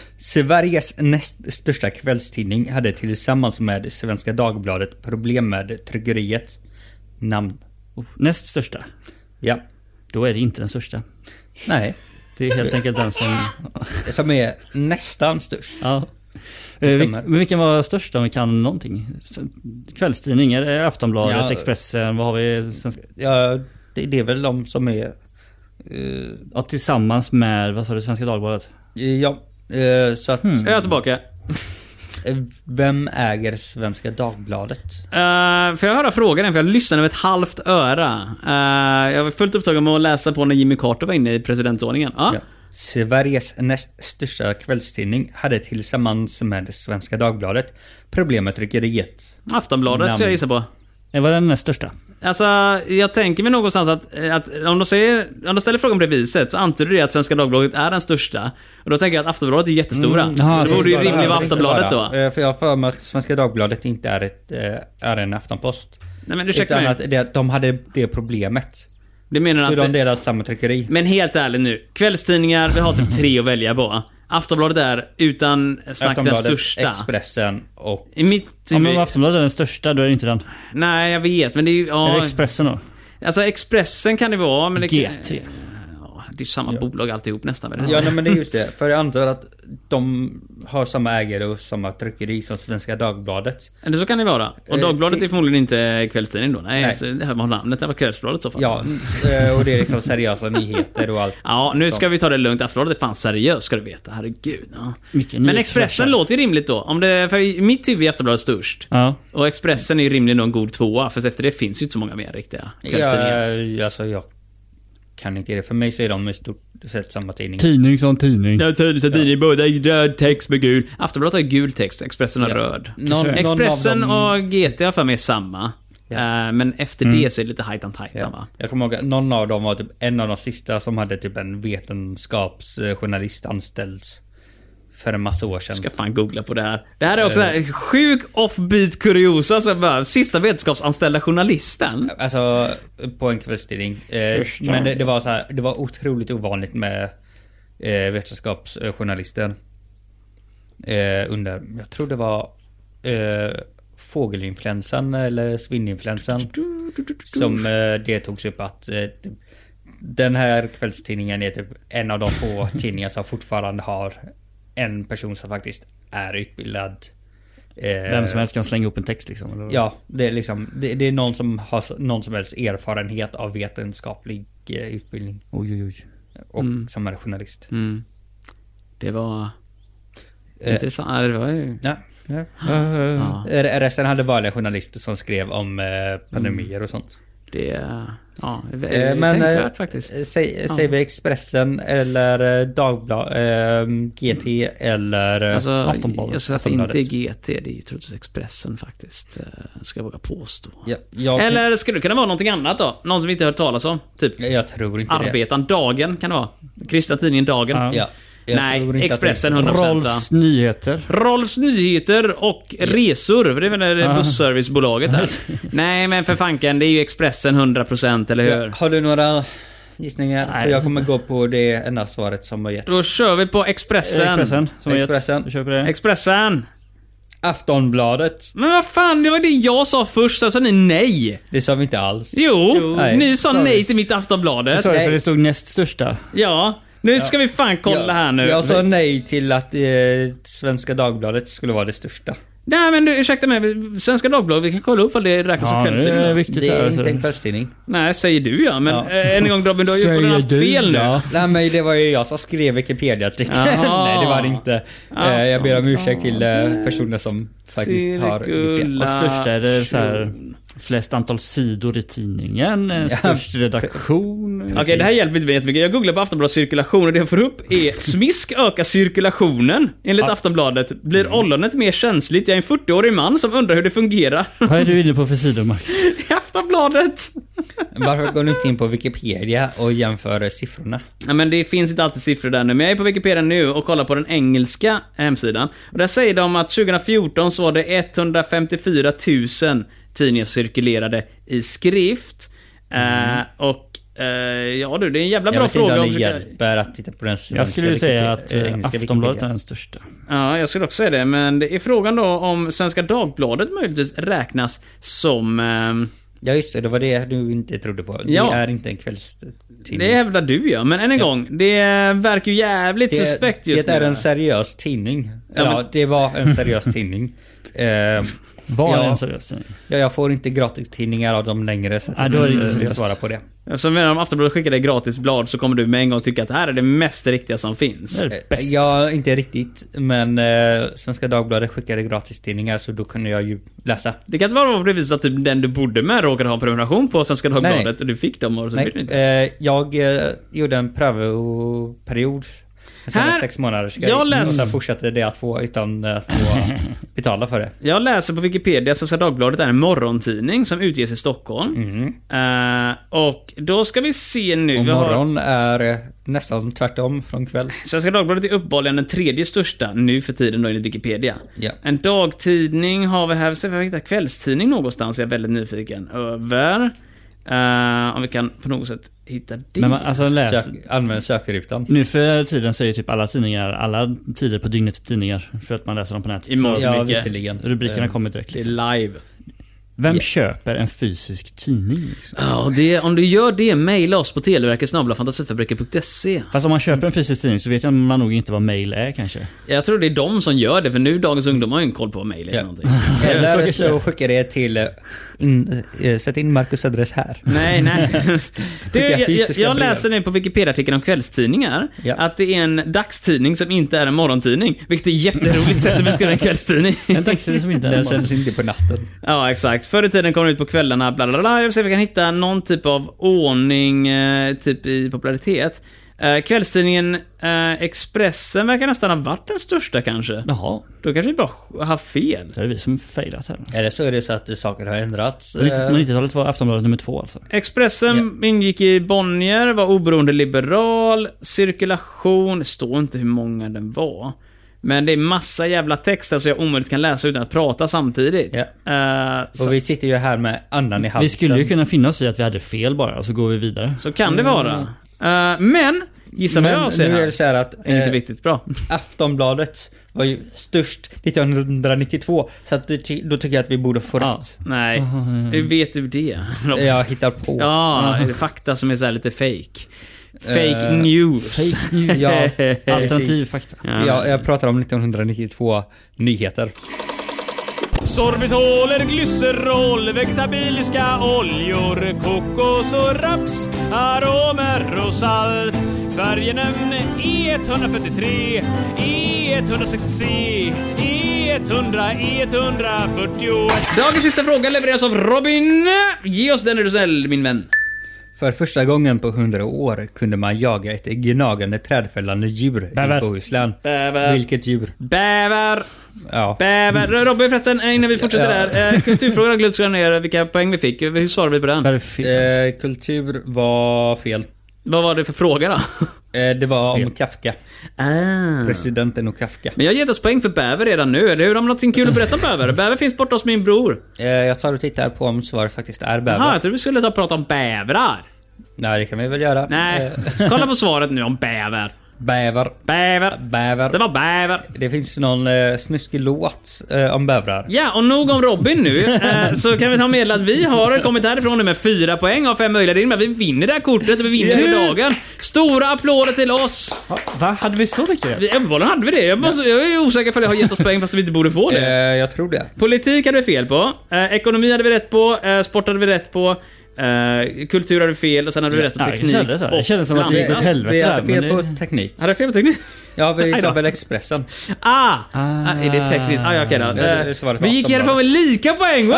S3: Sveriges näst största kvällstidning hade tillsammans med Svenska Dagbladet problem med tryckeriet. Namn.
S2: Oh, näst största.
S3: Ja.
S2: Då är det inte den största.
S3: Nej.
S2: Det är helt enkelt den som...
S3: Som är nästan störst.
S2: Ja. Eh, vil-
S3: stämmer.
S2: Men vilken var störst om vi kan någonting? S- Kvällstidning, är det Aftonbladet,
S3: Ja.
S2: Expressen, vad har vi? Svenska-
S3: Ja, det, det är väl de som är... eh,
S2: Ja, tillsammans med, vad sa du, Svenska Dagbladet?
S1: Hmm.
S3: ja, eh, så att...
S1: Jag är tillbaka.
S3: Eh, Vem äger Svenska Dagbladet?
S1: Uh, får jag höra frågan igen? För jag lyssnade med ett halvt öra. Eh, jag var fullt upptagen med att läsa på när Jimmy Carter var inne i presidentordningen. Ja.
S3: Ja. Sveriges näst största kvällstidning hade tillsammans med Svenska Dagbladet problem med tryckeriet.
S1: Aftonbladet,
S3: Namn.
S1: så jag gissar på.
S2: Det var den näst största.
S1: Alltså, jag tänker mig någonstans att, att om, de säger, om de ställer frågan på det viset så antyder det att Svenska Dagbladet är den största. Och då tänker jag att Aftonbladet är jättestora.
S2: jaha,
S1: så
S2: alltså,
S1: det borde ju
S2: bara-
S1: rimligen vara Aftonbladet då.
S3: Eh, För jag har för mig att Svenska Dagbladet inte är, ett, eh, är en aftonpost.
S1: Nej men ursäkta mig.
S3: Utan att det, de hade det problemet.
S1: det menar
S3: Så
S1: att...
S3: de
S1: det-
S3: delar samma tryckeri.
S1: Men helt ärligt nu. Kvällstidningar, vi har typ tre att välja på. Aftonbladet är, utan snack, den
S3: Aftonbladet,
S1: största.
S3: Expressen och...
S1: I mitt
S2: Ja, men
S1: huvud-
S2: om Aftonbladet är den största, då är det inte den.
S1: Nej, jag vet, men det är ju...
S2: Är det
S1: Ja,
S2: Expressen då?
S1: alltså Expressen kan det vara, men det kan-
S2: GT.
S1: Ja, det är ju samma bolag alltihop nästan. väl?
S3: Ja nej, men det är just det. För jag antar att de har samma ägare och samma tryckeri som Svenska Dagbladet.
S1: Eller så kan det vara. Och
S3: Eh,
S1: Dagbladet
S3: det-
S1: är förmodligen inte kvällstidning då. Nej,
S3: Nej.
S1: alltså, det här var namnet. Det var Kvällsbladet i så fall.
S3: Ja, eh, och det är liksom seriösa nyheter och allt.
S1: Ja, nu
S3: Så.
S1: ska vi ta det lugnt. Aftonbladet är fan seriöst, ska du veta. Herregud. Ja.
S2: Mycket
S1: Men
S2: nyhetsfräscha.
S1: Expressen låter ju rimligt då. Om det, för i mitt huvud är Aftonbladet störst.
S2: Ja.
S1: Och Expressen är ju rimligen då en god tvåa, för efter det finns ju inte så många mer riktiga kvällstidningar.
S3: Ja, alltså jag kan inte det. För mig så är de i stort sett samma tidning.
S2: Tidning som tidning.
S1: Ja, tidning, så tidning, både röd text med gul. Aftonbladet har ju gul text, Expressen har röd.
S3: Någon- någon
S1: Expressen
S3: av dem-
S1: och GT har för mig samma. Eh, men efter
S3: Mm.
S1: det så är det lite hajtan tajtan va?
S3: Ja. Jag kommer ihåg att någon av dem var typ en av de sista som hade typ en vetenskapsjournalist anställd. För en massa år sedan.
S1: Jag ska fan googla på det här. Det här är
S3: Eh.
S1: också uh, sjuk offbeat kuriosa som bara, sista vetenskapsanställda journalisten.
S3: Alltså på en kvällstidning. Eh, men det, det var så här, det var otroligt ovanligt med eh, vetenskapsjournalisten. Eh, under, jag tror det var eh, fågelinfluensan eller svininfluensan. Som eh, det togs upp att eh, den här kvällstidningen är typ en av de få tidningar som fortfarande har en person som faktiskt är utbildad. eh,
S2: Vem som helst kan slänga upp en text liksom. eller vad?
S3: Ja, det är liksom det, det är någon som har s- någon som helst erfarenhet av vetenskaplig eh, utbildning
S2: Oj, oj, oj.
S3: och som är journalist.
S1: Det var
S3: Eh.
S1: intressant. Ja, Det var ju...
S3: Ja. Ja. R- Resten hade vanliga journalister som skrev om eh, pandemier och sånt.
S1: Det... Ja, det är
S3: Eh,
S1: men, tänkvärt
S3: eh,
S1: faktiskt.
S3: eh, Säg, Säger vi Expressen eller eh, Dagblad, eh, GT eller eh,
S1: Alltså,
S2: Aftonbladet.
S1: jag skulle att det inte är
S3: Aftonbladet.
S1: GT, det är ju troligtvis Expressen faktiskt. eh, Ska jag våga påstå.
S3: Ja, jag,
S1: Eller skulle det kunna vara någonting annat då? Någon som vi inte hört talas om? Typ
S3: Jag tror inte det.
S1: Arbetaren, Dagen kan det vara. Kristna tidningen Dagen.
S2: Ja.
S3: Ja, jag tror
S1: Nej,
S3: inte att
S1: Expressen
S3: det-
S1: 100%. va?
S2: Rolfs nyheter.
S1: Rolfs Nyheter och Resor, för det är väl det busservicebolaget där. Nej men för fanken, det är ju Expressen 100% eller hur?
S3: Ja, Har du några gissningar?
S2: Nej.
S3: För jag kommer gå på det enda svaret som har getts.
S1: Då kör vi på Expressen.
S2: Expressen. Som
S3: Expressen.
S2: Expressen. Vi köper det.
S1: Expressen.
S3: Aftonbladet.
S1: Men vad fan, det var det jag sa först, sen sa ni nej.
S3: Det sa vi inte alls.
S1: Jo,
S3: Nej,
S1: ni sa
S3: sorry.
S1: nej till mitt Aftonbladet.
S2: Sorry
S3: Nej.
S2: för det stod näst största.
S1: Ja, nu ska vi fan kolla
S3: Jag-
S1: här nu.
S3: Jag sa nej till att eh, Svenska Dagbladet skulle vara det största.
S1: Nej men du, ursäkta mig. Svenska Dagbladet, vi kan kolla upp om det räknas som
S2: Ja, det är
S1: kvällstidning.
S2: viktigt.
S3: Det är
S2: alltså.
S3: inte en kvällstidning.
S1: Nej, säger du ja. Men
S3: Ja.
S1: eh, en gång Robin, du har ju uppenbarligen haft fel nu.
S3: Nej men det var ju jag som skrev Wikipedia-artikeln.
S1: Jaha.
S3: nej det var det inte. Eh, jag ber om ursäkt till eh, personer som faktiskt har gjort det.
S1: Cirkula-
S2: Och störst är det så här, flest antal sidor i tidningen, eh, störst redaktion.
S1: Okej, det här hjälper inte mig jättemycket. Jag googlar på Aftonbladets cirkulation och det jag får upp är Smisk ökar cirkulationen. Enligt Aftonbladet blir ollonet mer känsligt. Jag är en 40-årig man som undrar hur det fungerar.
S2: Vad är du inne på för sidor Marcus?
S1: I Aftonbladet!
S3: Varför går du inte in på Wikipedia och jämför eh, siffrorna?
S1: Ja, men det finns inte alltid siffror där nu, men jag är på Wikipedia nu och kollar på den engelska hemsidan. Och där säger de att 2014 så var det 154 000 tidningar cirkulerade i skrift. Eh, och eh, ja du, det är en jävla bra
S3: Mm. Jag vet inte
S1: fråga.
S3: om
S1: om
S3: det
S1: försöka-
S3: hjälper att titta på den svenska
S2: Jag skulle ju säga att
S3: Wikipedia- eh,
S2: eh,
S3: engelska
S2: Aftonbladet är
S3: Wikipedia.
S2: den största.
S1: Ja, jag skulle också säga det, men det är frågan då om Svenska Dagbladet möjligtvis räknas som... ehm,
S3: Ja just det, det var det du inte trodde på.
S1: Ja.
S3: Det är inte en kvällstidning.
S1: det hävdar du ja, men än en gång, det verkar ju jävligt suspekt just
S3: det är
S1: nu.
S3: en seriös tidning. Ja,
S1: Ja, men-
S3: det var en seriös tidning. Eh,
S2: Var
S3: Ja.
S2: det en seriös tidning?
S3: Ja, jag får inte gratistidningar av dem längre så att
S2: Ja,
S3: jag
S2: då är det
S3: kan
S2: inte seriöst.
S3: svara på det.
S1: Eftersom menar, om Aftonbladet skickar dig gratis blad så kommer du med en gång tycka att det här är det mest riktiga som finns.
S2: Det är det bästa.
S3: Eh, Ja, inte riktigt. Men eh, Svenska Dagbladet skickade gratistidningar så då kunde jag ju läsa.
S1: Det kan inte vara på det viset att typ den du bodde med råkade ha en prenumeration på Svenska Dagbladet
S3: Nej.
S1: och du fick dem och så
S3: Nej,
S1: fick du inte.
S3: eh, jag eh, gjorde en prövoperiod. En sån här
S1: Här-
S3: sex månaders grej.
S1: jag läs-
S3: Och sen fortsatte det att få utan att få betala för det.
S1: Jag läser på Wikipedia att Svenska Dagbladet är en morgontidning som utges i Stockholm. Eh, och då ska vi se nu.
S3: Mhm. Och
S1: vi har-
S3: morgon är eh, nästan tvärtom från kväll.
S1: Svenska Dagbladet är uppenbarligen den tredje största nu för tiden då enligt Wikipedia.
S3: Ja.
S1: En dagtidning har vi här, se om vi hittar kvällstidning någonstans, jag är väldigt nyfiken över. Eh, om vi kan på något sätt hitta det.
S2: Men man, alltså läs.
S3: Sök, använd sökrutan.
S2: Nu för tiden säger typ alla tidningar, alla tider på dygnet tidningar. För att man läser dem på nätet.
S1: I
S2: Så
S1: många-
S3: Ja,
S1: mycket.
S3: visserligen.
S2: Rubrikerna
S3: Eh,
S2: kommer direkt.
S1: det är
S2: Liksom.
S1: live.
S2: Vem köper en fysisk tidning? Liksom?
S1: Ja, och det, om du gör det, mejla oss på televerket fantasifabriken.se.
S2: Fast om man köper en fysisk tidning så vet jag- man nog inte vad mail är kanske.
S1: Jag tror det är de som gör det, för nu dagens ungdomar har ju en koll på vad mejl är för
S3: Ja.
S1: någonting.
S3: Eller Eh, så skicka det till... eh, In, eh, sätt in Marcus adress här.
S1: Nej, nej. Du, jag, jag,
S3: fysiska
S1: jag
S3: brev.
S1: läser nu på Wikipedia-artikeln om kvällstidningar
S3: Ja.
S1: att det är en dagstidning som inte är en morgontidning. Vilket är ett jätteroligt sätt att beskriva en kvällstidning.
S2: En dagstidning som inte är
S3: Den
S2: en morgon.
S3: sänds inte på natten.
S1: ja, exakt. Förr i tiden kom den ut på kvällarna, bla bla bla. Jag vill se om vi kan hitta någon typ av ordning eh, typ i popularitet. Eh, kvällstidningen eh, Expressen verkar nästan ha varit den största kanske.
S2: Jaha,
S1: Då kanske vi bara har fel.
S2: det är vi som failat här.
S3: Eller så är det så att saker har ändrats.
S2: På 90-
S3: eh,
S2: på 90-talet var Aftonbladet nummer två alltså.
S1: Expressen ingick i Bonnier, var oberoende liberal, cirkulation, står inte hur många den var. Men det är massa jävla texter som jag omöjligt kan läsa utan att prata samtidigt.
S3: Ja.
S1: Eh, så,
S3: Och vi sitter ju här med andan i halsen.
S2: Vi skulle ju kunna finna oss i att vi hade fel bara, och så går vi vidare.
S1: så kan det vara. Eh, men, gissa vad
S3: Mm. Men
S1: jag
S3: nu
S1: ser
S3: är det
S1: här.
S3: så här att
S1: Är inte
S3: eh,
S1: riktigt bra.
S3: Aftonbladet var ju störst 1992. Så att det, ty- då tycker jag att vi borde få
S2: Ja.
S3: rätt.
S1: Nej,
S3: Mm.
S1: hur vet du det? Robert?
S3: Jag hittar på.
S1: Ja, är det fakta som är så här lite fake. Fake
S3: Mm. Eh,
S1: news.
S3: Ja,
S2: Alternativ
S3: precis.
S2: fakta.
S1: Ja.
S3: Ja, jag pratar om 1992 nyheter.
S5: Sorbitoler, glycerol, vegetabiliska oljor, kokos och raps, aromer och salt. E Färgenämn E143, E E160C, E E100, E141.
S1: Dagens sista fråga levereras av Robin. Ge oss den är du snäll, min vän.
S3: För första gången på 100 år kunde man jaga ett gnagande trädfällande djur
S2: Bäver.
S3: i Bohuslän.
S1: Bäver.
S3: Vilket djur?
S1: Bäver!
S3: Ja.
S1: Bäver! Robin förresten, eh, innan vi fortsätter
S3: Ja.
S1: där. Eh, Kulturfrågan har jag glömt skriva ner vilka poäng vi fick. Hur svarade vi på den?
S2: Vad är det fel?
S3: Eh, kultur var fel.
S1: Vad var det för fråga då?
S3: Eh, det var om Kafka.
S1: Ah.
S3: Presidenten och Kafka.
S1: Men jag ger oss poäng för bäver redan nu, eller hur? Om någonting kul att berätta om bäver? Bäver finns borta hos min bror.
S3: Eh, jag tar och tittar på om svaret faktiskt är bäver.
S1: Jaha, jag trodde vi skulle ta och prata om bävrar.
S3: Nej, det kan vi väl göra.
S1: Nej,
S3: Eh,
S1: kolla på svaret nu om bäver.
S3: bäver.
S1: Bäver.
S3: Bäver.
S1: Det var bäver.
S3: Det finns någon eh, snuskig låt eh, om bävrar.
S1: Ja, och nog om Robin nu. Eh, så kan vi ta och meddela att vi har kommit härifrån nu med fyra poäng av fem möjliga. Det innebär att vi vinner det här kortet och vi vinner för dagen. Stora applåder till oss!
S2: Va? Hade vi så mycket rätt?
S1: Vi, uppenbarligen hade vi det. Jag, måste, jag är osäker för att jag har gett oss poäng fast vi inte borde få det.
S3: Eh, jag tror det.
S1: Politik hade vi fel på. Eh, ekonomi hade vi rätt på. Eh, sport hade vi rätt på. Eh, kultur hade vi fel och sen hade vi rätt på
S2: Ja, det
S1: teknik.
S2: kändes så. Det
S1: och
S2: kändes som att det gick
S1: blandning.
S2: åt helvete
S3: vi
S2: där,
S3: hade fel
S2: men
S3: på
S2: det-
S3: teknik.
S1: Hade jag fel på teknik?
S3: Ja, vi
S1: Aj då.
S3: sa väl Expressen.
S1: Ah! ah. Är det tekniskt? Ah, ja, okej då.
S3: Ja, det- det
S1: Eh,
S3: svaret
S1: vi
S3: var
S1: gick
S3: Aftonbladet.
S1: härifrån med lika poäng!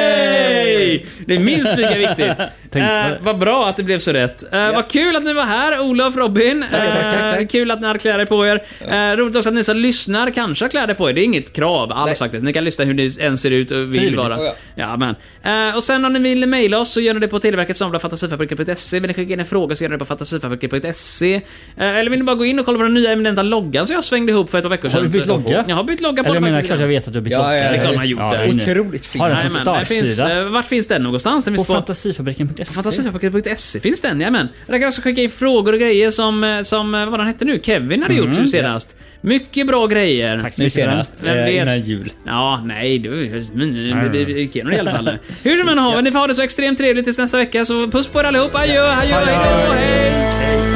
S1: Way! Det är minst lika viktigt.
S2: på det.
S1: Eh, vad bra att det blev så rätt. Eh, Vad kul att ni var här, Olof Robin. Eh,
S3: tack, tack, tack.
S1: Kul att ni har kläder på er. Eh, roligt också att ni som lyssnar kanske har kläder på er. Det är inget krav alls
S3: Nej.
S1: faktiskt. Ni kan lyssna hur ni än ser ut och vill
S2: Frivilligt.
S1: vara.
S3: Oh, ja.
S1: Ja, men. Eh, och sen om ni vill mejla oss så gör ni det på televerket fantasifabriken.se. Vill ni skicka in en fråga så gör ni det på fantasifabriken.se. Eh, eller vill ni bara gå in och kolla på den nya eminenta loggan som jag svängde ihop för ett par veckor sedan.
S2: Har du bytt
S1: Så-
S2: logga?
S1: Jag har bytt logga på
S2: Eller
S1: den
S2: jag menar,
S1: faktiskt.
S2: klart jag vet att du har bytt
S3: Ja,
S2: logga.
S3: ja, ja. Det är klart
S1: man gjort det.
S2: är inne.
S3: Otroligt fint.
S2: Har den som
S1: Jajamän, den finns,
S2: startsida.
S1: eh, vart finns den någonstans? Den
S2: På
S1: finns på
S2: fantasifabriken.se.
S1: fantasifabriken.se. Finns den? Jajamän. Där kan också skicka in frågor och grejer som, eh, som eh, vad han hette nu, Kevin hade gjort gjort senast. Mycket bra grejer.
S2: Mm, Tack så
S3: Nu
S2: mycket. för den.
S3: senast.
S1: Vem
S3: eh,
S1: vet?
S3: Innan jul.
S1: Ja, nej, det är Kenon i alla fall. Hur som än har vi, ni får ha det så extremt trevligt tills nästa vecka, så puss på er allihop. Adjö, adjö, hejdå, hej!
S3: Hej.